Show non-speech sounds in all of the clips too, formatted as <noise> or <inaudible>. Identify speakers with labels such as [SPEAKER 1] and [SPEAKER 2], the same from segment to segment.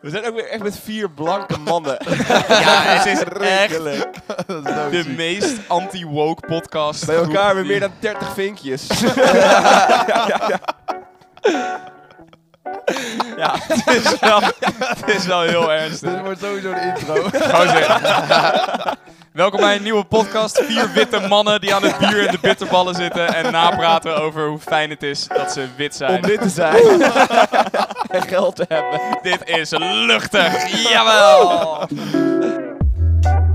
[SPEAKER 1] We zijn ook weer echt met vier blanke mannen. <laughs>
[SPEAKER 2] Ja, het is echt
[SPEAKER 3] Dat is dood.
[SPEAKER 2] de meest anti-woke podcast.
[SPEAKER 1] Bij elkaar weer meer
[SPEAKER 2] groep die-
[SPEAKER 1] dan 30
[SPEAKER 3] <laughs>
[SPEAKER 1] vinkjes.
[SPEAKER 2] Ja, <laughs> het is wel, het is wel heel ernstig.
[SPEAKER 3] Dit wordt sowieso de intro.
[SPEAKER 2] Gozer. Welkom bij een nieuwe podcast. Vier witte mannen die aan het bier en de bitterballen zitten en napraten over hoe fijn het is dat ze wit zijn.
[SPEAKER 1] <laughs> Om dit te zijn.
[SPEAKER 3] <laughs>
[SPEAKER 1] en geld te hebben.
[SPEAKER 2] Dit is luchtig. Jawel.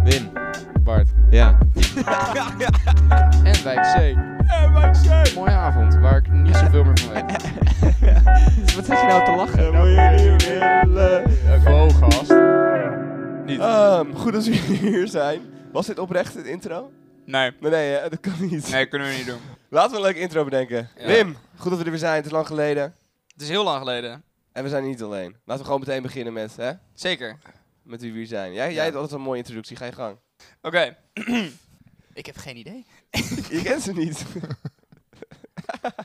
[SPEAKER 3] Wim,
[SPEAKER 4] Bart. <laughs>
[SPEAKER 3] ja.
[SPEAKER 4] En wijk C.
[SPEAKER 2] En wij zijn.
[SPEAKER 4] Mooie avond, waar ik niet zoveel meer van
[SPEAKER 2] <laughs>
[SPEAKER 4] weet. Wat zit je nou te lachen?
[SPEAKER 2] Go gast.
[SPEAKER 1] Ehm, goed dat jullie hier zijn. Was dit oprecht het intro?
[SPEAKER 2] Nee.
[SPEAKER 1] Nee, nee, eh, dat kan niet.
[SPEAKER 2] Nee, kunnen we niet doen.
[SPEAKER 1] Laten we een leuke intro bedenken.
[SPEAKER 4] Ja.
[SPEAKER 1] Wim, goed dat we er weer zijn. Het is lang geleden.
[SPEAKER 2] Het is heel lang geleden.
[SPEAKER 1] En we zijn niet alleen. Laten we gewoon meteen beginnen met, hè?
[SPEAKER 2] Zeker.
[SPEAKER 1] Met wie we hier zijn. Jij, jij hebt altijd een mooie introductie. Ga je gang.
[SPEAKER 2] Oké.
[SPEAKER 4] Ik heb geen idee.
[SPEAKER 1] je kent ze niet.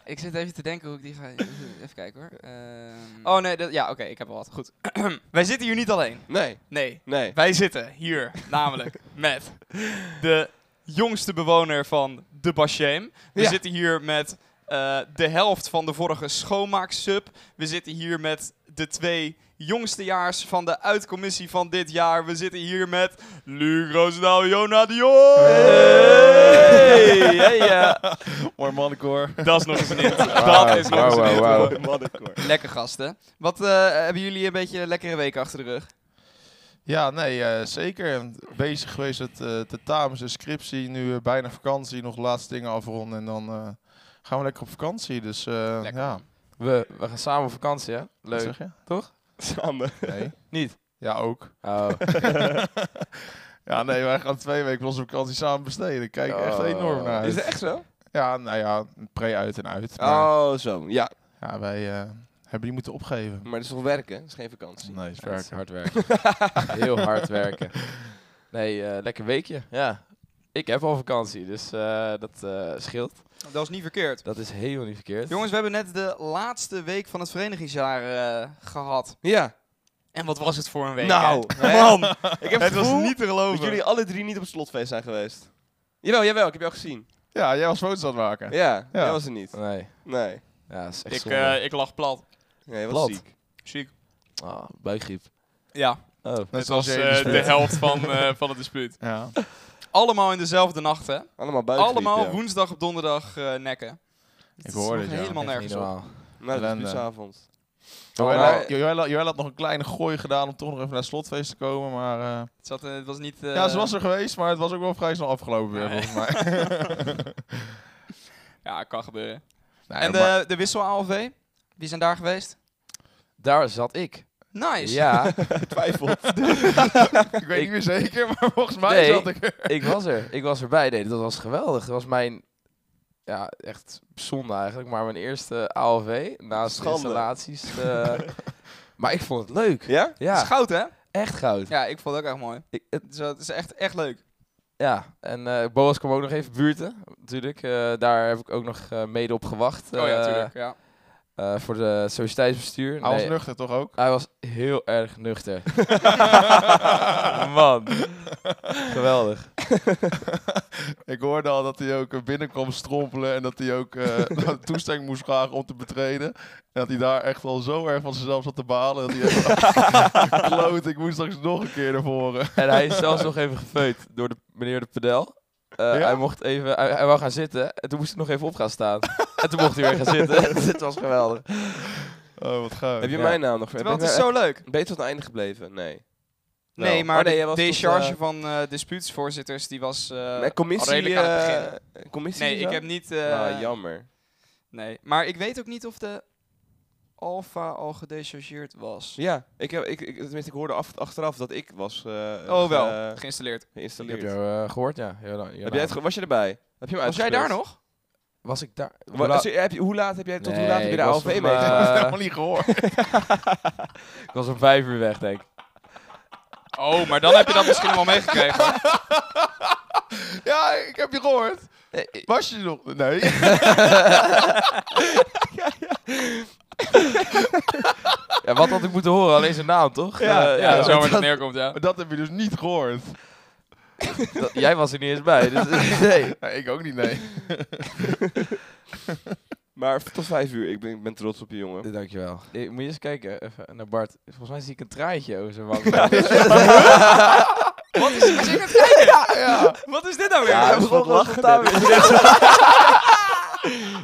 [SPEAKER 4] Ik zit even te denken hoe ik die ga... Even kijken hoor. Ehm,
[SPEAKER 2] Oh nee, dat, ja, oké, ik heb al wat. Goed. <clears throat> wij zitten hier niet alleen.
[SPEAKER 1] Nee,
[SPEAKER 2] Nee.
[SPEAKER 1] nee.
[SPEAKER 2] Wij zitten hier
[SPEAKER 4] <laughs>
[SPEAKER 2] namelijk met de jongste bewoner van de Bashem. We
[SPEAKER 1] Ja.
[SPEAKER 2] zitten hier met eh, de helft van de vorige schoonmaaksub. We zitten hier met de twee jongstejaars van de uitcommissie van dit jaar. We zitten hier met Luc Roosendaal, Jona Dion.
[SPEAKER 1] Hey.
[SPEAKER 2] Hey, hey, ja.
[SPEAKER 3] Mormannenkoor.
[SPEAKER 2] Dat is nog eens een intro. Dat is nog eens een
[SPEAKER 4] wauw,
[SPEAKER 2] intro.
[SPEAKER 4] wauw.
[SPEAKER 1] Mannenkoor.
[SPEAKER 2] Lekker gasten. Wat eh, hebben jullie een beetje een lekkere week achter de rug?
[SPEAKER 3] Ja, nee, eh, zeker. En Bezig geweest met eh tentamens en scriptie. Nu eh, bijna vakantie, nog de laatste dingen afronden. En dan eh, gaan we lekker op vakantie. Dus eh,
[SPEAKER 2] Lekker.
[SPEAKER 3] ja.
[SPEAKER 4] we, we gaan samen op vakantie, hè?
[SPEAKER 3] Wat
[SPEAKER 4] Leuk.
[SPEAKER 3] zeg je?
[SPEAKER 1] Samen.
[SPEAKER 3] Nee. <laughs>
[SPEAKER 4] Niet?
[SPEAKER 3] Ja,
[SPEAKER 1] <laughs>
[SPEAKER 2] <laughs>
[SPEAKER 3] ook.
[SPEAKER 4] Oh.
[SPEAKER 3] Ja, nee, wij gaan twee weken onze vakantie samen besteden. Ik Kijk echt
[SPEAKER 4] Oh.
[SPEAKER 3] enorm naar
[SPEAKER 1] Is
[SPEAKER 3] uit.
[SPEAKER 1] dat echt zo?
[SPEAKER 3] Ja, nou ja, pre-uit en uit. Maar
[SPEAKER 1] Oh, zo. Ja,
[SPEAKER 3] ja, wij eh, hebben die moeten opgeven.
[SPEAKER 1] maar dat is toch werken? Dat is geen vakantie.
[SPEAKER 3] Nee, is
[SPEAKER 4] Het is
[SPEAKER 3] werk.
[SPEAKER 4] hard werken. Heel hard werken. Nee, eh, lekker weekje. Ja. Ik heb al vakantie, dus eh, dat eh, scheelt.
[SPEAKER 2] Dat is niet verkeerd.
[SPEAKER 4] Dat is helemaal niet verkeerd.
[SPEAKER 2] Jongens, we hebben net de laatste week van het verenigingsjaar eh, gehad.
[SPEAKER 1] Ja.
[SPEAKER 2] En wat was het voor een week?
[SPEAKER 1] Nou,
[SPEAKER 2] hè?
[SPEAKER 1] man. heb het
[SPEAKER 2] ik <laughs> het was
[SPEAKER 1] gevoel
[SPEAKER 2] niet te
[SPEAKER 1] Dat
[SPEAKER 2] geloven.
[SPEAKER 1] jullie alle drie niet op het slotfeest zijn geweest. Jawel, jawel. Ik heb jou gezien.
[SPEAKER 3] Ja, jij was foto's aan het maken.
[SPEAKER 1] Ja, jij was er niet.
[SPEAKER 4] Nee.
[SPEAKER 1] Nee.
[SPEAKER 4] Ja, dat is echt
[SPEAKER 2] ik,
[SPEAKER 4] zonde.
[SPEAKER 2] eh, ik lag plat.
[SPEAKER 1] Nee, je was
[SPEAKER 4] Plat.
[SPEAKER 1] ziek.
[SPEAKER 2] Ziek.
[SPEAKER 4] Ah, buikgriep.
[SPEAKER 2] Ja,
[SPEAKER 4] Oh.
[SPEAKER 2] het
[SPEAKER 3] Net
[SPEAKER 2] was
[SPEAKER 3] zoals
[SPEAKER 2] eh,
[SPEAKER 3] jij.
[SPEAKER 2] de helft van, eh, van het dispuut.
[SPEAKER 3] Ja.
[SPEAKER 2] <laughs> Allemaal in dezelfde nacht, hè?
[SPEAKER 1] Allemaal buiten.
[SPEAKER 2] Allemaal woensdag op donderdag eh, nekken.
[SPEAKER 3] Ik hoor
[SPEAKER 2] het.
[SPEAKER 3] het, ja.
[SPEAKER 2] Helemaal
[SPEAKER 4] Echt niet
[SPEAKER 2] nergens op.
[SPEAKER 4] normaal. Oh,
[SPEAKER 1] Nou, dat is
[SPEAKER 3] Ellende.
[SPEAKER 1] dispuutsavond.
[SPEAKER 3] Joël
[SPEAKER 1] maar-
[SPEAKER 3] had- Joël had- Joël had nog een kleine gooi gedaan om toch nog even naar het slotfeest te komen, maar... eh,
[SPEAKER 2] Het, zat, eh, het was niet...
[SPEAKER 3] ja,
[SPEAKER 2] eh,
[SPEAKER 3] ze was er geweest, maar het was ook wel vrij snel afgelopen weer, volgens mij.
[SPEAKER 2] <laughs> Ja, kan gebeuren.
[SPEAKER 3] Nee,
[SPEAKER 2] en
[SPEAKER 3] maar-
[SPEAKER 2] de, de wissel ALV? Wie zijn daar geweest?
[SPEAKER 4] Daar zat ik.
[SPEAKER 2] Nice. <laughs>
[SPEAKER 4] Ja, <laughs>
[SPEAKER 1] Twijfel.
[SPEAKER 3] ik weet niet meer zeker, <laughs> maar volgens mij
[SPEAKER 4] Nee.
[SPEAKER 3] zat ik er.
[SPEAKER 4] ik was er. Ik was erbij. Nee, dat was geweldig. Dat was mijn, ja, echt zonde eigenlijk. Maar mijn eerste ALV naast de
[SPEAKER 1] Schande.
[SPEAKER 4] installaties. eh, maar ik vond het leuk.
[SPEAKER 1] Ja?
[SPEAKER 2] Het is
[SPEAKER 4] Ja,
[SPEAKER 2] goud, hè?
[SPEAKER 4] echt goud. Ja,
[SPEAKER 2] Ja, ik vond het ook echt mooi.
[SPEAKER 4] ik, het,
[SPEAKER 2] Dus dat is echt, echt leuk.
[SPEAKER 4] ja. en eh Boas kwam ook nog even buurten, natuurlijk. Eh, daar heb ik ook nog eh, mede op gewacht.
[SPEAKER 2] oh ja,
[SPEAKER 4] eh,
[SPEAKER 2] natuurlijk. Ja.
[SPEAKER 4] eh, voor de sociëteitsbestuur.
[SPEAKER 3] Hij was
[SPEAKER 4] Nee,
[SPEAKER 3] nuchter, toch
[SPEAKER 4] <laughs>
[SPEAKER 3] ook?
[SPEAKER 4] Hij was heel erg nuchter. Man. Geweldig.
[SPEAKER 3] Ik hoorde al dat hij ook eh, binnenkwam strompelen en dat hij ook eh, <laughs> dat toestemming moest vragen om te betreden. En dat hij daar echt al zo erg van zichzelf zat te balen. Dat hij echt <laughs> kloot, ik moet straks nog een keer naar voren.
[SPEAKER 4] En hij is zelfs nog even gefeut door de, meneer de pedel. Eh,
[SPEAKER 3] Ja?
[SPEAKER 4] Hij mocht even, hij, hij wou gaan zitten en toen moest hij nog even op gaan staan. en toen mocht hij weer gaan zitten. Dit was geweldig.
[SPEAKER 3] Oh, wat gaaf.
[SPEAKER 1] Heb je
[SPEAKER 4] Ja.
[SPEAKER 3] <laughs>
[SPEAKER 1] mijn naam nog?
[SPEAKER 2] Terwijl
[SPEAKER 1] Ben
[SPEAKER 2] het is
[SPEAKER 1] je-
[SPEAKER 2] zo leuk.
[SPEAKER 1] Ben je tot het einde gebleven? Nee.
[SPEAKER 2] Nee,
[SPEAKER 1] Wel.
[SPEAKER 2] maar
[SPEAKER 1] Oh, nee, jij
[SPEAKER 2] de
[SPEAKER 1] was tot,
[SPEAKER 2] decharge
[SPEAKER 1] eh,
[SPEAKER 2] van eh dispuutsvoorzitters, die was eh,
[SPEAKER 1] Nee,
[SPEAKER 2] al
[SPEAKER 1] commissie,
[SPEAKER 2] redelijk aan het
[SPEAKER 1] eh,
[SPEAKER 2] begin.
[SPEAKER 1] commissie
[SPEAKER 2] Nee,
[SPEAKER 1] zo?
[SPEAKER 2] ik heb niet... eh,
[SPEAKER 1] Ah, jammer.
[SPEAKER 2] nee, maar ik weet ook niet of de Alfa al gedechargeerd was.
[SPEAKER 1] Ja, ik heb, ik, ik, tenminste, ik hoorde af, achteraf dat ik was eh,
[SPEAKER 2] oh,
[SPEAKER 1] ge-
[SPEAKER 2] wel. geïnstalleerd.
[SPEAKER 4] Ik heb
[SPEAKER 1] geïnstalleerd.
[SPEAKER 4] jou eh, gehoord, ja. Heel lang- heel
[SPEAKER 1] Heb jij het,
[SPEAKER 4] lang.
[SPEAKER 1] ge- was je erbij? Heb je hem
[SPEAKER 2] Was jij daar nog?
[SPEAKER 4] Was ik daar?
[SPEAKER 1] Wa-
[SPEAKER 4] Hoe la-
[SPEAKER 1] zie- heb je- hoe laat heb jij, tot
[SPEAKER 4] Nee,
[SPEAKER 1] hoe laat heb je
[SPEAKER 4] ik
[SPEAKER 1] de
[SPEAKER 4] was
[SPEAKER 1] ALV
[SPEAKER 4] nog
[SPEAKER 1] meegemaakt?
[SPEAKER 4] maar-
[SPEAKER 3] Dat is
[SPEAKER 4] eh,
[SPEAKER 3] helemaal niet gehoord.
[SPEAKER 4] ik was om vijf uur weg, denk ik.
[SPEAKER 2] Oh, maar dan heb je dat misschien wel meegekregen.
[SPEAKER 3] Ja, ik heb je gehoord. Was je er nog? Nee.
[SPEAKER 4] Ja, wat had ik moeten horen? Alleen zijn naam, toch?
[SPEAKER 2] Ja,
[SPEAKER 4] Eh,
[SPEAKER 2] ja,
[SPEAKER 4] dat-
[SPEAKER 2] zo maar
[SPEAKER 3] dat-
[SPEAKER 1] <laughs>
[SPEAKER 2] het neerkomt, ja.
[SPEAKER 3] Maar dat heb je dus niet gehoord.
[SPEAKER 4] dat- jij was er niet eens bij. Dus, nee.
[SPEAKER 3] Nee, ik ook niet, nee.
[SPEAKER 1] <laughs> Maar tot vijf uur, ik ben, ik ben trots op je jongen.
[SPEAKER 4] <laughs> Dankjewel. Ik, moet je eens kijken even naar Bart. Volgens mij zie ik een traantje over zijn wang.
[SPEAKER 2] Wat is, ik zie het kijken.
[SPEAKER 1] <laughs>
[SPEAKER 2] Wat is dit nou weer?
[SPEAKER 1] Ja, dat is wat lachen.
[SPEAKER 4] spontaan
[SPEAKER 1] dit.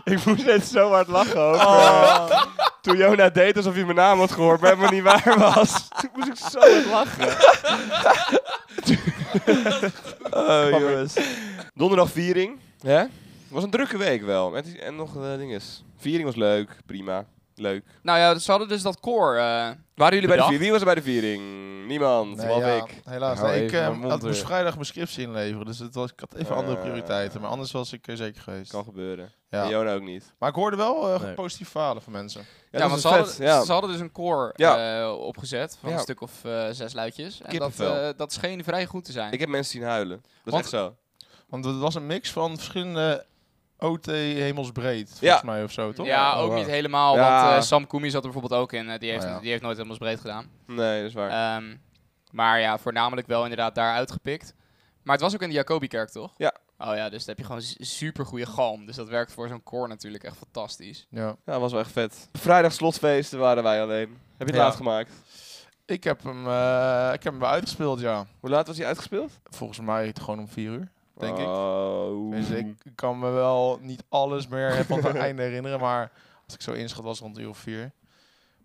[SPEAKER 1] ik moest net zo hard lachen over...
[SPEAKER 2] Oh.
[SPEAKER 1] eh, <laughs> toen Jona deed alsof hij mijn naam had gehoord, maar helemaal niet waar was. <laughs> Toen moest ik zo hard lachen.
[SPEAKER 4] Oh,
[SPEAKER 1] jongens. Donderdag viering.
[SPEAKER 4] Ja?
[SPEAKER 1] was een drukke week wel. Met, en nog eh, dinges. Viering was leuk, prima. Leuk.
[SPEAKER 2] Nou ja, ze hadden dus dat koor. eh,
[SPEAKER 1] Waren jullie bij de
[SPEAKER 2] Bedacht.
[SPEAKER 1] viering? Wie was er bij de viering? Niemand,
[SPEAKER 3] Nee,
[SPEAKER 1] behalve
[SPEAKER 3] ja,
[SPEAKER 1] ik.
[SPEAKER 3] Helaas.
[SPEAKER 4] Hou
[SPEAKER 3] Nee, ik
[SPEAKER 4] even
[SPEAKER 3] eh,
[SPEAKER 4] mijn mond
[SPEAKER 3] had, moest
[SPEAKER 4] weer.
[SPEAKER 3] vrijdag mijn scriptie inleveren, dus het was, ik had even andere
[SPEAKER 1] Eh.
[SPEAKER 3] prioriteiten. Maar anders was ik er zeker geweest.
[SPEAKER 1] Kan gebeuren.
[SPEAKER 3] Ja.
[SPEAKER 1] En Jona ook niet.
[SPEAKER 3] Maar ik hoorde wel eh
[SPEAKER 4] Nee.
[SPEAKER 3] positief verhalen van mensen.
[SPEAKER 2] ja,
[SPEAKER 1] dat
[SPEAKER 2] want
[SPEAKER 1] was
[SPEAKER 2] ze
[SPEAKER 1] vet,
[SPEAKER 2] hadden,
[SPEAKER 1] ja.
[SPEAKER 2] ze hadden dus een koor
[SPEAKER 1] Ja.
[SPEAKER 2] eh, opgezet van
[SPEAKER 1] Ja.
[SPEAKER 2] een stuk of eh, zes luidjes. En dat,
[SPEAKER 1] Kippenvel.
[SPEAKER 2] eh, dat scheen vrij goed te zijn.
[SPEAKER 1] Ik heb mensen zien huilen. Dat is
[SPEAKER 2] Want-
[SPEAKER 1] echt zo.
[SPEAKER 3] Want het was een mix van verschillende OT hemelsbreed, volgens
[SPEAKER 1] Ja.
[SPEAKER 3] mij of zo, toch?
[SPEAKER 2] ja,
[SPEAKER 4] Oh,
[SPEAKER 2] ook
[SPEAKER 4] wow.
[SPEAKER 2] niet helemaal,
[SPEAKER 1] Ja.
[SPEAKER 2] want eh, Sam Koumi zat er bijvoorbeeld ook in. eh, die, heeft,
[SPEAKER 3] Oh, ja.
[SPEAKER 2] die heeft nooit helemaal breed gedaan.
[SPEAKER 1] Nee, dat is waar.
[SPEAKER 2] Ehm, maar ja, voornamelijk wel inderdaad daar uitgepikt. Maar het was ook in de Jacobikerk, toch?
[SPEAKER 1] Ja.
[SPEAKER 2] Oh ja, dus dan heb je gewoon super goede galm. Dus dat werkt voor zo'n koor natuurlijk echt fantastisch.
[SPEAKER 3] Ja.
[SPEAKER 1] Ja, dat was wel echt vet. Vrijdag slotfeesten waren wij alleen. Heb je het
[SPEAKER 3] Ja.
[SPEAKER 1] laat gemaakt?
[SPEAKER 3] Ik heb hem, eh, ik heb hem wel uitgespeeld, ja.
[SPEAKER 1] Hoe laat was hij uitgespeeld?
[SPEAKER 3] Volgens mij gewoon om vier uur. Denk ik.
[SPEAKER 1] oh.
[SPEAKER 3] Dus ik kan me wel niet alles meer van het <laughs> einde herinneren, maar als ik zo inschat was het rond een uur of vier.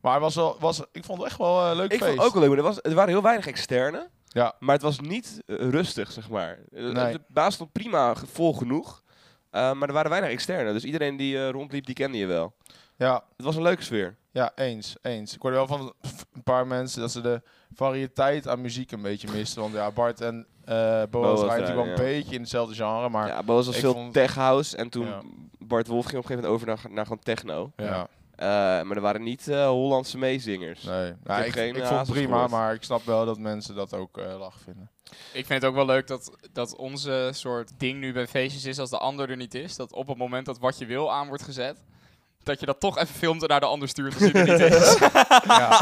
[SPEAKER 3] Maar het was wel, was, ik vond het echt wel een leuk
[SPEAKER 1] Ik
[SPEAKER 3] feest.
[SPEAKER 1] vond het ook wel leuk, maar er, was, er waren heel weinig externen.
[SPEAKER 3] Ja.
[SPEAKER 1] Maar het was niet eh, rustig, zeg maar. Eh,
[SPEAKER 3] Nee.
[SPEAKER 1] De baas stond prima ge- vol genoeg. eh, maar er waren weinig externen. Dus iedereen die eh, rondliep, die kende je wel.
[SPEAKER 3] Ja,
[SPEAKER 1] Het was een leuke sfeer.
[SPEAKER 3] ja, eens, eens. Ik hoorde wel van een paar mensen dat ze de variëteit aan muziek een beetje misten. Want ja, Bart en eh Boas draaien natuurlijk wel een
[SPEAKER 1] ja.
[SPEAKER 3] beetje in hetzelfde genre, maar ja.
[SPEAKER 1] ja, Boas was
[SPEAKER 3] ik
[SPEAKER 1] veel
[SPEAKER 3] vond-
[SPEAKER 1] tech house. En toen
[SPEAKER 3] Ja.
[SPEAKER 1] Bart Wolf ging op een gegeven moment over naar, naar gewoon techno.
[SPEAKER 3] ja.
[SPEAKER 1] Eh, maar er waren niet eh, Hollandse meezingers.
[SPEAKER 3] Nee, nou,
[SPEAKER 1] heb
[SPEAKER 3] ik,
[SPEAKER 1] geen,
[SPEAKER 3] ik
[SPEAKER 1] eh,
[SPEAKER 3] vond het
[SPEAKER 1] hazes
[SPEAKER 3] prima,
[SPEAKER 1] gehoord.
[SPEAKER 3] maar ik snap wel dat mensen dat ook eh lach
[SPEAKER 1] <laughs>
[SPEAKER 3] vinden.
[SPEAKER 2] Ik vind het ook wel leuk dat, dat onze soort ding nu bij feestjes is als de ander er niet is. Dat op het moment dat wat je wil aan wordt gezet, dat je dat toch even filmt en naar de ander stuurt als die
[SPEAKER 1] <laughs>
[SPEAKER 2] er niet is.
[SPEAKER 3] ja.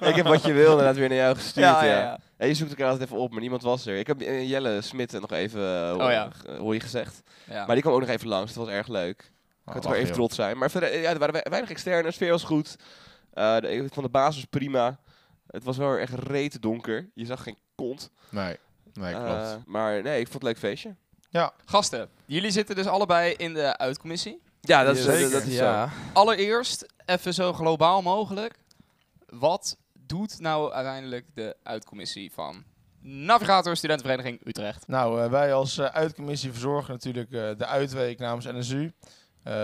[SPEAKER 1] ik heb wat je wil inderdaad weer naar jou gestuurd. Ja,
[SPEAKER 2] ja.
[SPEAKER 1] En je zoekt elkaar altijd even op, maar niemand was er. Ik heb eh, Jelle Smit nog even, eh, ho-
[SPEAKER 2] Oh ja.
[SPEAKER 1] eh, hoor je gezegd.
[SPEAKER 2] Ja.
[SPEAKER 1] Maar die kwam ook nog even langs, dat was erg leuk.
[SPEAKER 3] Oh,
[SPEAKER 1] Ik kan toch wel even trots zijn. Maar verder, eh, ja, er waren we- weinig externe, de sfeer was goed. Eh, de, van de basis prima. Het was wel echt reet donker. Je zag geen kont.
[SPEAKER 3] Nee, nee, klopt.
[SPEAKER 1] Eh, maar nee, ik vond het een leuk feestje.
[SPEAKER 2] Gasten, jullie zitten dus allebei in de uitcommissie.
[SPEAKER 1] Ja,
[SPEAKER 3] dat is- Jazeker. dat is zo.
[SPEAKER 4] ja.
[SPEAKER 2] Allereerst, even zo globaal mogelijk. Wat doet nou uiteindelijk de uitcommissie van Navigator Studentenvereniging Utrecht?
[SPEAKER 3] Nou, eh, wij als eh, uitcommissie verzorgen natuurlijk eh, de uitweek namens NSU. eh,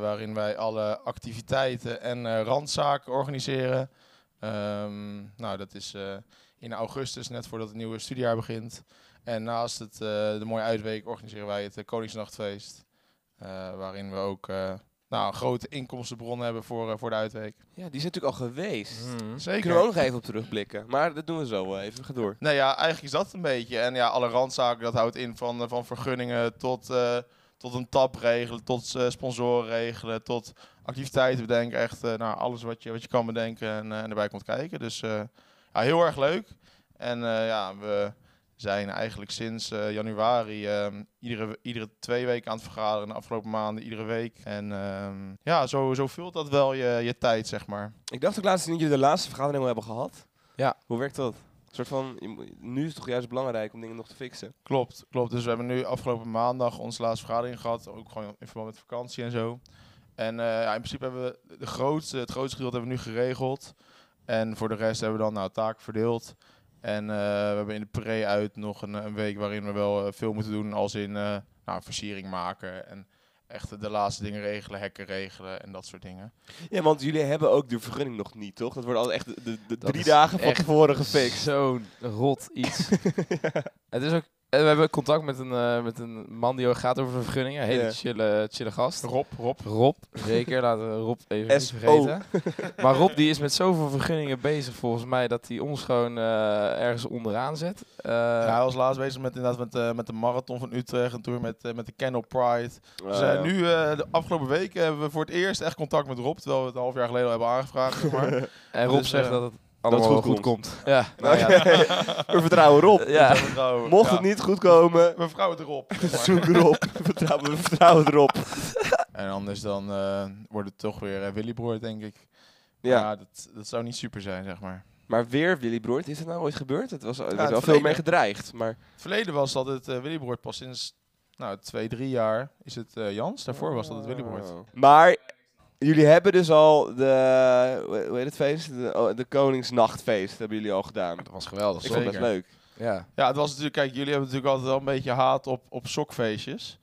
[SPEAKER 3] waarin wij alle activiteiten en eh, randzaken organiseren. Ehm, nou, dat is eh, in augustus, net voordat het nieuwe studiejaar begint. En naast het, eh, de mooie uitweek organiseren wij het eh, Koningsnachtfeest. eh, waarin we ook eh, nou, een grote inkomstenbron hebben voor, eh, voor de uitweek.
[SPEAKER 1] Ja, die zijn natuurlijk al geweest.
[SPEAKER 4] Hmm.
[SPEAKER 1] Ik
[SPEAKER 3] Mhm. Zeker.
[SPEAKER 1] kunnen we ook nog even op terugblikken. Maar dat doen we zo wel even. Ga door.
[SPEAKER 3] Nou ja, eigenlijk is dat een beetje. En ja, alle randzaken, dat houdt in van, eh, van vergunningen tot, eh, tot een tap regelen, tot eh, sponsoren regelen, tot activiteiten bedenken. Echt eh, nou, alles wat je, wat je kan bedenken en, eh, en erbij komt kijken. Dus eh, ja, heel erg leuk. En eh, ja, we zijn eigenlijk sinds eh, januari ehm, iedere, iedere twee weken aan het vergaderen. De afgelopen maanden, iedere week. En ehm, ja, zo, zo vult dat wel je, je tijd, zeg maar.
[SPEAKER 1] Ik dacht ook laatst dat jullie de laatste vergadering al hebben gehad.
[SPEAKER 4] Ja.
[SPEAKER 1] Hoe werkt dat? Een soort van, je moet- nu is het toch juist belangrijk om dingen nog te fixen?
[SPEAKER 3] Klopt, klopt. Dus we hebben nu afgelopen maandag onze laatste vergadering gehad. Ook gewoon in verband met vakantie en zo. En eh, ja, in principe hebben we de grootste, het grootste gedeelte hebben we nu geregeld. En voor de rest hebben we dan nou taak verdeeld. En eh, we hebben in de pre-uit nog een, eh, een week waarin we wel eh, veel moeten doen. Als in eh, nou, versiering maken en echt de laatste dingen regelen, hekken regelen en dat soort dingen.
[SPEAKER 1] Ja, want jullie hebben ook de vergunning nog niet, toch? Dat wordt al echt de, de, de
[SPEAKER 4] Dat
[SPEAKER 1] drie
[SPEAKER 4] is
[SPEAKER 1] dagen van
[SPEAKER 4] echt
[SPEAKER 1] tevoren gefixt.
[SPEAKER 3] <laughs>
[SPEAKER 4] Zo'n rot iets. Het is ook En we hebben contact met een, eh, met een man die gaat over vergunningen. Hele
[SPEAKER 1] Ja.
[SPEAKER 4] chille, chille gast.
[SPEAKER 3] Rob, Rob.
[SPEAKER 4] Rob, zeker. Laten we Rob even niet
[SPEAKER 1] SO.
[SPEAKER 4] vergeten. Maar Rob die is met zoveel vergunningen bezig volgens mij dat hij ons gewoon eh, ergens onderaan zet. Eh,
[SPEAKER 3] Ja, hij was laatst bezig met, inderdaad, met, eh, met de marathon van Utrecht en toen met, eh, met de Kennel Pride. Dus eh,
[SPEAKER 1] Ah,
[SPEAKER 3] nu, eh, de afgelopen weken, hebben we voor het eerst echt contact met Rob. Terwijl we het een half jaar geleden al hebben aangevraagd. zeg
[SPEAKER 1] <laughs>
[SPEAKER 3] Maar
[SPEAKER 4] en Rob
[SPEAKER 3] dus,
[SPEAKER 4] zegt
[SPEAKER 3] eh,
[SPEAKER 4] dat het allemaal
[SPEAKER 1] goed
[SPEAKER 4] goed, goed komt. <laughs> Ja.
[SPEAKER 3] <laughs> nou ja.
[SPEAKER 1] We vertrouwen <laughs> Rob.
[SPEAKER 4] ja.
[SPEAKER 3] <laughs> we vertrouwen-
[SPEAKER 1] Mocht
[SPEAKER 3] ja,
[SPEAKER 1] het niet goed komen, <laughs>
[SPEAKER 3] We vertrouwen het Rob. zeg maar.
[SPEAKER 1] zoek erop. vertrouwen, we vertrouwen erop.
[SPEAKER 3] en anders dan eh, wordt het toch weer eh, Willy Broer, denk ik. Ja,
[SPEAKER 1] Ja,
[SPEAKER 3] dat, dat zou niet super zijn, zeg maar.
[SPEAKER 1] maar weer Willy Broert. Is het nou ooit gebeurd? Het was, er werd
[SPEAKER 3] het
[SPEAKER 1] wel veel
[SPEAKER 3] verleden.
[SPEAKER 1] mee gedreigd. Maar
[SPEAKER 3] Het verleden was dat het eh Willy Broer pas sinds nou, twee, drie jaar is het eh, Jans. Daarvoor was dat het Willy Broer.
[SPEAKER 1] Oh. Maar jullie hebben dus al de, hoe- hoe heet het feest? De, oh, de Koningsnachtfeest hebben jullie al gedaan.
[SPEAKER 4] Dat was geweldig.
[SPEAKER 1] Ik vond het best
[SPEAKER 3] zeker.
[SPEAKER 1] leuk.
[SPEAKER 4] Ja.
[SPEAKER 3] Ja, het was natuurlijk, kijk, jullie hebben natuurlijk altijd wel een beetje haat op, op sokfeestjes.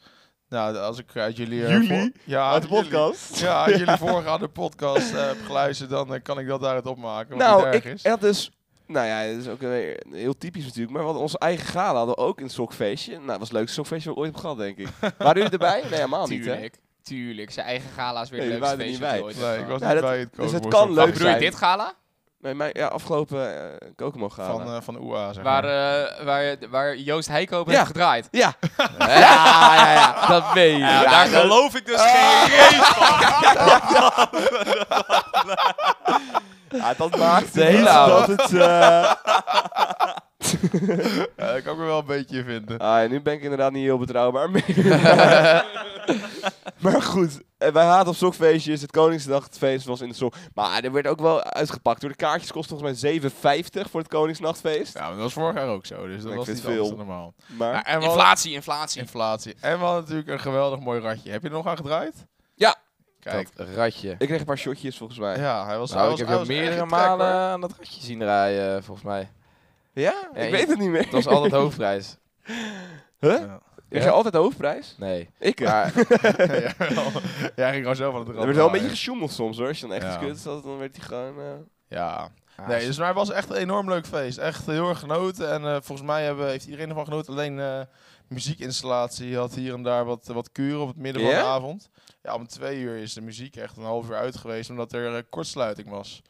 [SPEAKER 3] Nou, als ik uit jullie... eh,
[SPEAKER 1] Jullie?
[SPEAKER 3] voor- Ja,
[SPEAKER 1] Uit de
[SPEAKER 3] Ah, jullie.
[SPEAKER 1] podcast. <laughs>
[SPEAKER 3] Ja, als jullie voorgaande podcast eh, hebben geluisterd, dan eh, kan ik dat daaruit opmaken. wat
[SPEAKER 1] Nou,
[SPEAKER 3] niet erg
[SPEAKER 1] ik
[SPEAKER 3] is.
[SPEAKER 1] had dus... Nou ja, dat is ook weer heel typisch natuurlijk. Maar we hadden onze eigen gala hadden we ook een sokfeestje. Nou, dat was het leukste sokfeestje wat ik ooit heb gehad, denk
[SPEAKER 4] <laughs>
[SPEAKER 1] ik. Waren jullie erbij? Nee, helemaal niet, hè?
[SPEAKER 2] Tuurlijk. Tuurlijk. Zijn eigen gala is weer
[SPEAKER 1] Nee,
[SPEAKER 2] het
[SPEAKER 1] die
[SPEAKER 2] leukste
[SPEAKER 1] waren er
[SPEAKER 2] feestje
[SPEAKER 1] niet
[SPEAKER 2] dat
[SPEAKER 1] bij.
[SPEAKER 2] je ooit hebt
[SPEAKER 3] Nee, ik was
[SPEAKER 1] Ja,
[SPEAKER 3] niet
[SPEAKER 1] dat-
[SPEAKER 3] bij het
[SPEAKER 1] dus het
[SPEAKER 3] kookwoord
[SPEAKER 1] kan
[SPEAKER 3] van-
[SPEAKER 1] leuk
[SPEAKER 2] gehad. Wat bedoel je,
[SPEAKER 1] zijn.
[SPEAKER 2] dit gala?
[SPEAKER 1] Nee, mijn ja, afgelopen eh Kokomo gala.
[SPEAKER 3] van, eh van OEA, zeg
[SPEAKER 2] Waar,
[SPEAKER 3] maar.
[SPEAKER 2] eh, waar, waar Joost Heikoop
[SPEAKER 1] Ja.
[SPEAKER 2] heeft gedraaid.
[SPEAKER 1] ja,
[SPEAKER 4] Ja, ja, ja. Dat weet je.
[SPEAKER 5] Ja, daar geloof ik dus
[SPEAKER 2] Ah,
[SPEAKER 5] geen reet van.
[SPEAKER 1] Ja,
[SPEAKER 4] <laughs>
[SPEAKER 1] dat maakt
[SPEAKER 4] De hele
[SPEAKER 1] dat
[SPEAKER 4] avond.
[SPEAKER 1] het... eh,
[SPEAKER 3] Ja, Eh, ik kan me wel een beetje in vinden.
[SPEAKER 1] <laughs> Ah, nu ben ik inderdaad niet heel betrouwbaar meer. maar goed, eh, wij haten op sokfeestjes. Het Koningsnachtfeest was in de sok. Maar er werd ook wel uitgepakt. Door de kaartjes kost volgens mij 7,50 voor het Koningsnachtfeest.
[SPEAKER 3] Ja, maar dat was vorig jaar ook zo, dus dat
[SPEAKER 1] Ik
[SPEAKER 3] was
[SPEAKER 1] vind
[SPEAKER 3] niet
[SPEAKER 1] het
[SPEAKER 3] veel.
[SPEAKER 1] veel.
[SPEAKER 3] normaal.
[SPEAKER 1] Maar
[SPEAKER 3] Ja, en we hadden-
[SPEAKER 2] Inflatie, inflatie.
[SPEAKER 3] inflatie. En we hadden natuurlijk een geweldig mooi ratje. Heb je er nog aan gedraaid?
[SPEAKER 1] Ja.
[SPEAKER 3] Kijk,
[SPEAKER 4] Dat ratje.
[SPEAKER 1] ik kreeg een paar shotjes volgens mij.
[SPEAKER 3] ja, hij was... hij
[SPEAKER 4] Nou, ik
[SPEAKER 3] was-
[SPEAKER 4] heb
[SPEAKER 3] hij
[SPEAKER 4] je
[SPEAKER 3] was echt
[SPEAKER 4] meerdere
[SPEAKER 3] een trek,
[SPEAKER 4] malen
[SPEAKER 3] hoor.
[SPEAKER 4] aan dat ratje zien draaien, eh, volgens mij.
[SPEAKER 1] Ja,
[SPEAKER 4] Ja,
[SPEAKER 1] ik
[SPEAKER 4] je-
[SPEAKER 1] weet het niet meer.
[SPEAKER 4] Het was
[SPEAKER 3] <laughs>
[SPEAKER 4] altijd
[SPEAKER 1] <laughs>
[SPEAKER 4] hoofdprijs.
[SPEAKER 1] Huh?
[SPEAKER 3] Ja.
[SPEAKER 1] Ik
[SPEAKER 4] Ja?
[SPEAKER 1] ga altijd de hoofdprijs.
[SPEAKER 4] Nee.
[SPEAKER 1] Ik. eh.
[SPEAKER 4] Maar
[SPEAKER 3] <laughs> ja, jawel. Jij ging gewoon zelf aan het rad
[SPEAKER 1] er werd wel een
[SPEAKER 3] draaien.
[SPEAKER 1] beetje gesjoemeld soms hoor. Als je dan echt
[SPEAKER 3] Ja.
[SPEAKER 1] iets kut zat, dan werd hij gewoon... eh,
[SPEAKER 3] Ja. Nee, dus maar het was echt een enorm leuk feest. Echt heel erg genoten. En eh, volgens mij hebben, heeft iedereen ervan genoten. Alleen eh, muziekinstallatie had hier en daar wat, wat kuren op het midden
[SPEAKER 1] Ja?
[SPEAKER 3] van de avond. Ja, om twee uur is de muziek echt een half uur uit geweest. Omdat er eh, kortsluiting was.